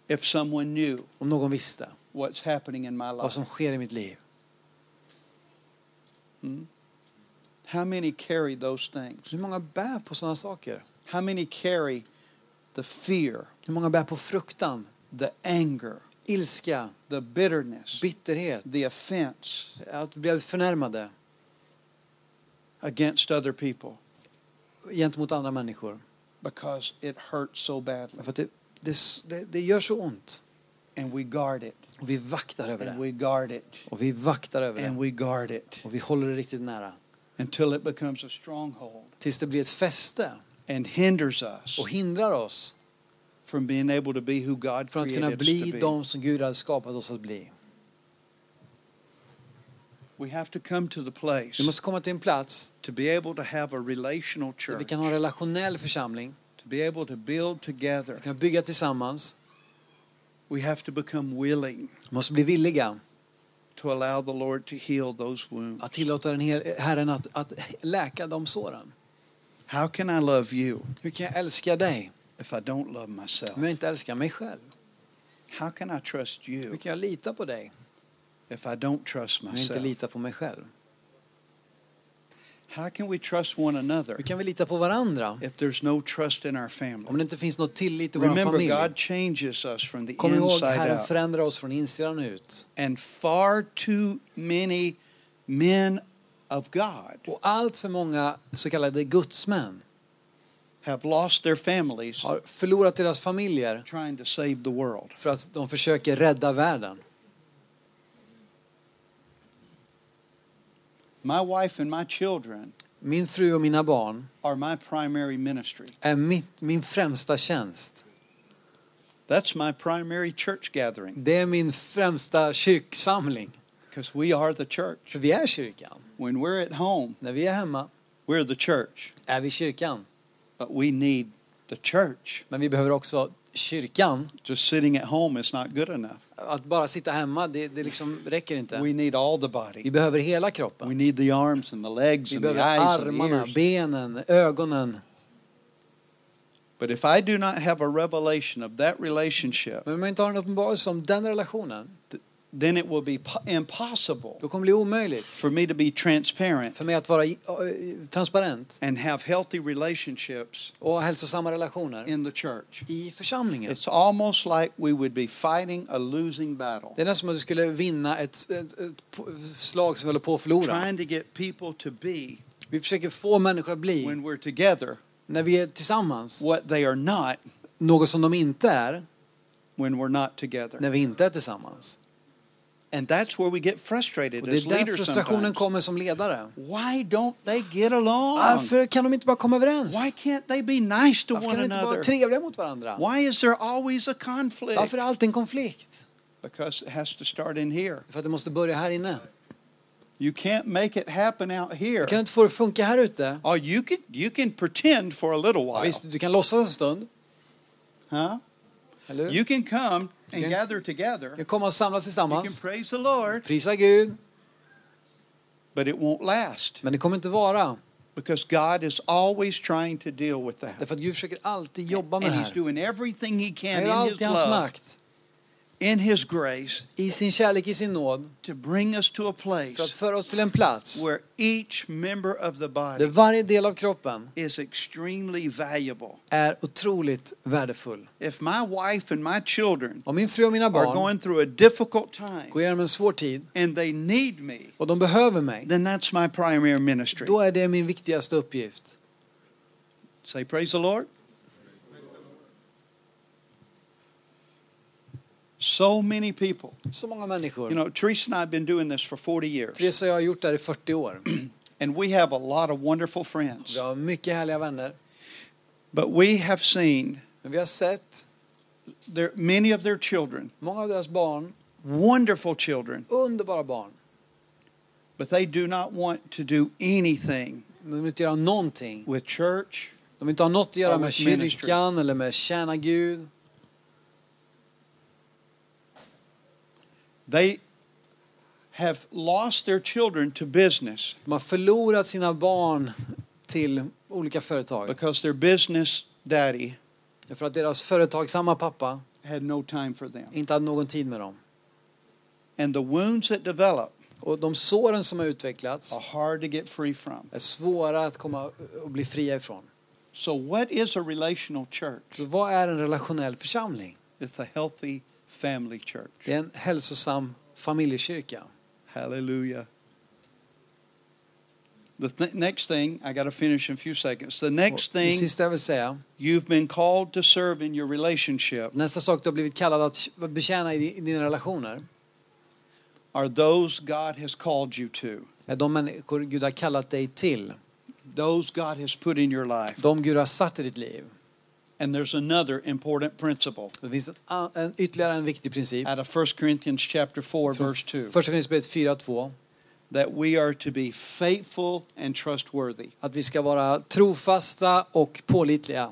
B: if someone knew
C: om någon visste
B: what's happening in my
C: vad
B: life.
C: som sker i mitt liv.
B: How many carry those things?
C: Hur många bär på sådana saker?
B: How many carry the fear,
C: Hur många bär på fruktan,
B: the anger,
C: ilska,
B: the bitterness,
C: bitterhet,
B: the offense
C: att bli förnärmade
B: against other people
C: gentemot andra människor?
B: because it hurts so badly?
C: För att det, det, det, det gör så ont.
B: And we guard it,
C: Och vi vaktar över
B: and
C: det.
B: we guard it,
C: Och vi vaktar över
B: and
C: det.
B: we guard it
C: Och vi håller det riktigt nära.
B: until it becomes a stronghold
C: Tills det blir ett fäste
B: and hinders us
C: och hindrar oss
B: from being able to be who God
C: från att
B: created
C: kunna
B: us to
C: bli
B: be.
C: de som Gud hade skapat oss att bli.
B: We have to come to the place
C: Vi måste komma till en plats
B: to be able to have a relational
C: där vi
B: church,
C: kan ha en relationell församling,
B: to be able to build together.
C: kunna bygga tillsammans.
B: We have to become willing
C: Vi måste bli villiga
B: to allow the Lord to heal those wounds.
C: att tillåta den hel- Herren att, att läka de såren.
B: How can I love you
C: Hur kan jag älska dig
B: if I don't love myself?
C: om jag inte älskar mig själv?
B: How can I trust
C: Hur
B: you
C: kan jag lita på dig
B: if I don't trust
C: om jag inte
B: myself?
C: litar på mig själv?
B: How can we trust one another
C: Hur kan vi lita på varandra
B: if there's no trust in our
C: om
B: family?
C: det inte finns något tillit i vår
B: Remember,
C: familj?
B: God changes us from the
C: Kom ihåg,
B: inside
C: Herren
B: out.
C: förändrar oss från insidan ut.
B: And far too many men of God
C: Och allt för många så kallade gudsmän
B: have lost their families
C: har förlorat deras familjer
B: trying to save the world.
C: för att de försöker rädda världen.
B: My wife and my children
C: Min fru och mina barn
B: are my primary ministry.
C: är min, min främsta tjänst.
B: That's my primary church gathering
C: Det är min främsta kyrksamling.
B: because we are the church.
C: För vi är kyrkan.
B: When we're at home,
C: När vi är hemma
B: we're the church,
C: är vi kyrkan.
B: but we need the church.
C: Men vi behöver också kyrkan.
B: Just sitting at home is not good enough.
C: Att bara sitta hemma, det, det liksom räcker inte.
B: We need all the
C: Vi
B: body.
C: behöver hela
B: We
C: kroppen.
B: need the arms and the legs
C: Vi
B: and the
C: behöver
B: eyes and the
C: armarna,
B: ears.
C: benen, ögonen.
B: But if I do not have a revelation of that relationship,
C: Men om jag inte har en uppenbarelse om den relationen,
B: then it will be po- impossible
C: då kommer det bli omöjligt
B: for me to be transparent
C: för mig att vara i- eh, transparent
B: and have healthy relationships
C: och ha hälsosamma relationer
B: in the church.
C: i församlingen.
B: It's almost like we would be fighting a losing battle,
C: Det är nästan som att du skulle vinna ett, ett, ett po- slag som vi håller på att förlora.
B: trying to get people to be,
C: Vi försöker få människor att bli,
B: when we're together,
C: när vi är tillsammans,
B: what they are not
C: något som de inte är
B: when we're not together.
C: när vi inte är tillsammans.
B: And that's where we get frustrated
C: Och det
B: as
C: är där
B: leaders
C: frustrationen
B: sometimes.
C: kommer som ledare.
B: Why don't they get along?
C: Varför kan de inte bara komma överens?
B: Why can't they be nice to
C: Varför kan
B: one
C: de inte
B: another?
C: vara trevliga mot varandra?
B: Why is there always a conflict?
C: Varför är allt en konflikt?
B: Because it has to start in here.
C: För att det måste börja här inne.
B: You can't make it happen out here.
C: Du kan inte få det att funka här ute.
B: Oh, you can you can pretend for a little
C: Ja,
B: while,
C: visst, du kan låtsas en stund.
B: huh?
C: Eller hur?
B: You can come and
C: can-
B: gather
C: Du
B: together.
C: kan komma och samlas
B: You can
C: tillsammans.
B: praise the Lord,
C: Prisa Gud.
B: but it won't last
C: Men det kommer inte vara.
B: because God is always trying to deal with that.
C: Därför att Gud försöker alltid jobba med
B: And
C: det
B: He's
C: här.
B: doing everything He
C: Han
B: can
C: gör
B: in His
C: allt i hans
B: love,
C: makt.
B: in His grace,
C: I sin kärlek, i sin nåd.
B: to bring us to a
C: För att
B: place
C: föra oss till en plats
B: where each member of the
C: där
B: body
C: varje del av kroppen
B: is extremely valuable.
C: är otroligt värdefull.
B: If my wife and my children
C: Om min fru och mina
B: are
C: barn
B: going through a difficult time
C: går igenom en svår tid
B: and they need me,
C: och de behöver mig,
B: then that's my primary ministry.
C: då är det min viktigaste uppgift.
B: Say, Praise the Lord. So many people.
C: Så många
B: You
C: människor.
B: know, Teresa and I have been doing this for 40 years,
C: Teresa och jag har gjort det här i 40 år.
B: and we have a lot of wonderful
C: Vi
B: friends.
C: har mycket härliga vänner.
B: But we have seen
C: Men vi har sett
B: their, many of their children,
C: många av deras barn,
B: wonderful children,
C: underbara barn,
B: but they do not want to do anything
C: men de vill inte göra någonting.
B: with church
C: De vill inte ha något att göra
B: Always
C: med
B: ministry.
C: kyrkan eller med tjäna Gud.
B: They have lost their children to business
C: De har förlorat sina barn till olika företag.
B: because their business daddy
C: För att deras företagsamma pappa
B: had no time for them.
C: inte hade någon tid med dem.
B: And the wounds that develop
C: Och de såren som har utvecklats
B: are hard to get free from.
C: är svåra att komma och bli fria ifrån.
B: So, what is a relational church?
C: Så vad är en relationell församling?
B: It's a healthy family church.
C: Det är en hälsosam familjekyrka.
B: Hallelujah. The th- next thing, I got to finish in a few seconds. The next
C: Och det
B: thing
C: sista jag vill säga,
B: you've been called to serve in your relationship
C: nästa sak du har blivit kallad att betjäna i di- i dina relationer
B: are those God has called you to,
C: är de människor Gud har kallat dig till.
B: those God has put in your life.
C: De Gud har satt i ditt liv.
B: And there's another important principle
C: Det finns en, an- en, ytterligare en viktig princip.
B: out of 1 Corinthians chapter 4
C: Från
B: verse 2
C: Första Korinthierbrevet 4.2.
B: that we are to be faithful and trustworthy.
C: Att vi ska vara trofasta och pålitliga.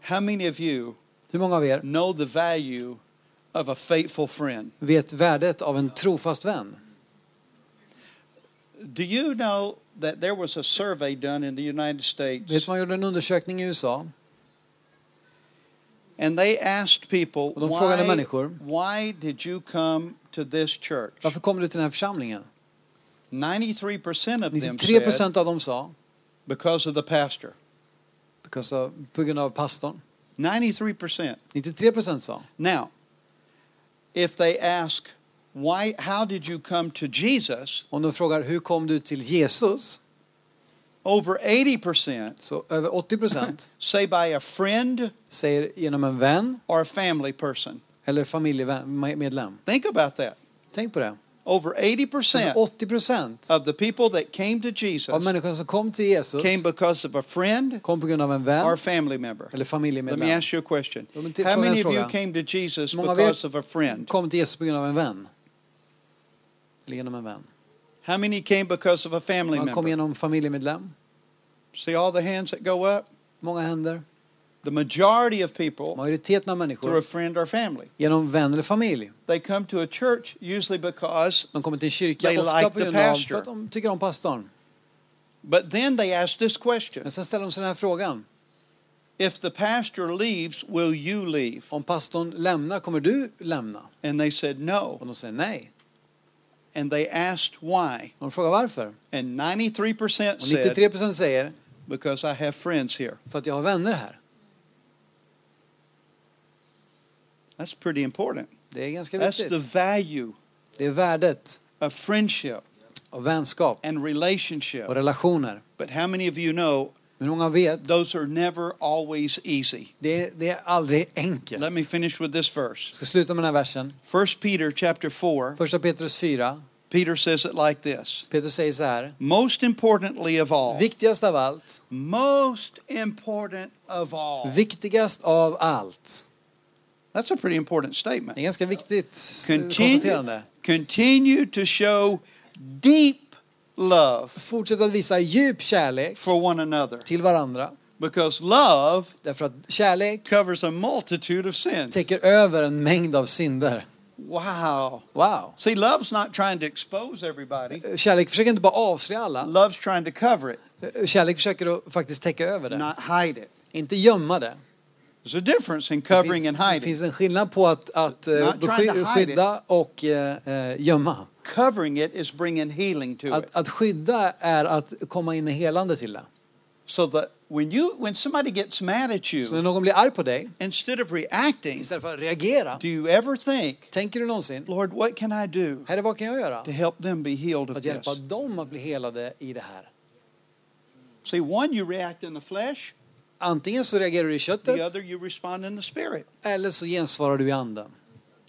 B: How many of you
C: Hur många av er
B: know the value of a faithful friend?
C: vet värdet av en trofast vän?
B: Do you know that there was a survey done in the United
C: Vet du,
B: States
C: man gjorde en undersökning i USA
B: and they asked people
C: och de frågade
B: why,
C: människor
B: why did you come to this church?
C: varför kommer du till den här församlingen?
B: 93% of them
C: 93
B: said
C: procent av dem sa
B: because of the pastor.
C: because of, på grund av pastorn.
B: 93%.
C: 93 procent sa.
B: Now, if they ask why how did you come to Jesus?
C: Om de frågar hur kom du till Jesus?
B: Over 80%
C: Så över 80 procent
B: say by a friend
C: säger genom en vän
B: or a family person.
C: eller familjemedlem.
B: Think about that.
C: Tänk på det.
B: Over 80%
C: Över 80 procent
B: of the people that came to
C: av
B: Jesus
C: människorna som kom till Jesus
B: came because of a friend
C: kom på grund av en
B: or a
C: vän
B: family member.
C: eller
B: Let me
C: familjemedlem.
B: ask you a question.
C: Ja, men till-
B: How
C: fråga en
B: many of you
C: fråga.
B: came to Jesus
C: Många av er-
B: because of a friend?
C: Kom till Jesus på grund av en vän. Eller genom en vän.
B: How many came because of a family
C: Man kom
B: member?
C: genom familjemedlem.
B: See all the hands that go up?
C: Många händer.
B: The majority of people
C: Majoriteten av
B: through a
C: människor
B: friend or family.
C: genom vän eller familj.
B: They come to a church usually because,
C: De kommer till kyrkan
B: They
C: ofta
B: like
C: på
B: the
C: grund av
B: pastor.
C: för att de tycker om pastorn.
B: but then they ask this question
C: Men sen ställer de sig den här frågan.
B: If the pastor leaves, will you leave?
C: Om pastorn lämnar, kommer du lämna?
B: And they said no.
C: Och de säger nej.
B: And they asked why.
C: Och de frågar varför.
B: And 93%
C: Och
B: said
C: 93 procent säger
B: because I have friends here.
C: för att jag har vänner här.
B: That's pretty important.
C: Det är ganska
B: That's the
C: viktigt.
B: value
C: Det är värdet
B: of friendship
C: av vänskap
B: and relationship.
C: och relationer.
B: But how many of you know
C: Men många vet,
B: those are never always easy?
C: det är, det är aldrig enkelt.
B: Let me
C: Jag
B: finish with this verse.
C: ska sluta med den här versen.
B: 1 Peter chapter 4,
C: Första Petrus 4.
B: Peter says it like this.
C: Petrus säger så här.
B: Most importantly of all,
C: Viktigast av allt,
B: most important of all.
C: viktigast av allt.
B: That's a pretty important
C: Det
B: statement.
C: är ganska viktigt
B: Continue,
C: konstaterande.
B: continue to show deep love
C: Fortsätt att visa djup kärlek
B: for one another
C: till varandra.
B: because love
C: Därför att kärlek
B: covers a multitude of sins.
C: täcker över en mängd av synder.
B: Wow.
C: Wow.
B: See, love's not trying to expose everybody.
C: Kärlek försöker inte bara avslöja alla.
B: Love's trying to cover it,
C: Eh, Kärlek försöker att faktiskt täcka över det.
B: not hide it.
C: Inte gömma det.
B: There's a difference in
C: Det
B: covering and
C: finns, det
B: hiding.
C: finns en skillnad på att, att eh,
B: Not trying to
C: besky-
B: hide
C: skydda och eh, eh, gömma.
B: Covering it is bringing healing to it.
C: Att, att skydda är att komma in i helande till det.
B: So that when you when somebody gets mad at
C: Så när
B: you,
C: någon blir arg på dig,
B: instead of reacting,
C: istället för att reagera,
B: do you ever think,
C: tänker du någonsin,
B: Lord, what can I do
C: Herre vad kan jag göra
B: to help them be healed
C: för
B: of
C: att hjälpa
B: this?
C: dem att bli helade i det här?
B: See, one you react in the flesh,
C: Antingen så reagerar du i
B: the
C: köttet
B: other you respond in the spirit.
C: eller så gensvarar du i anden.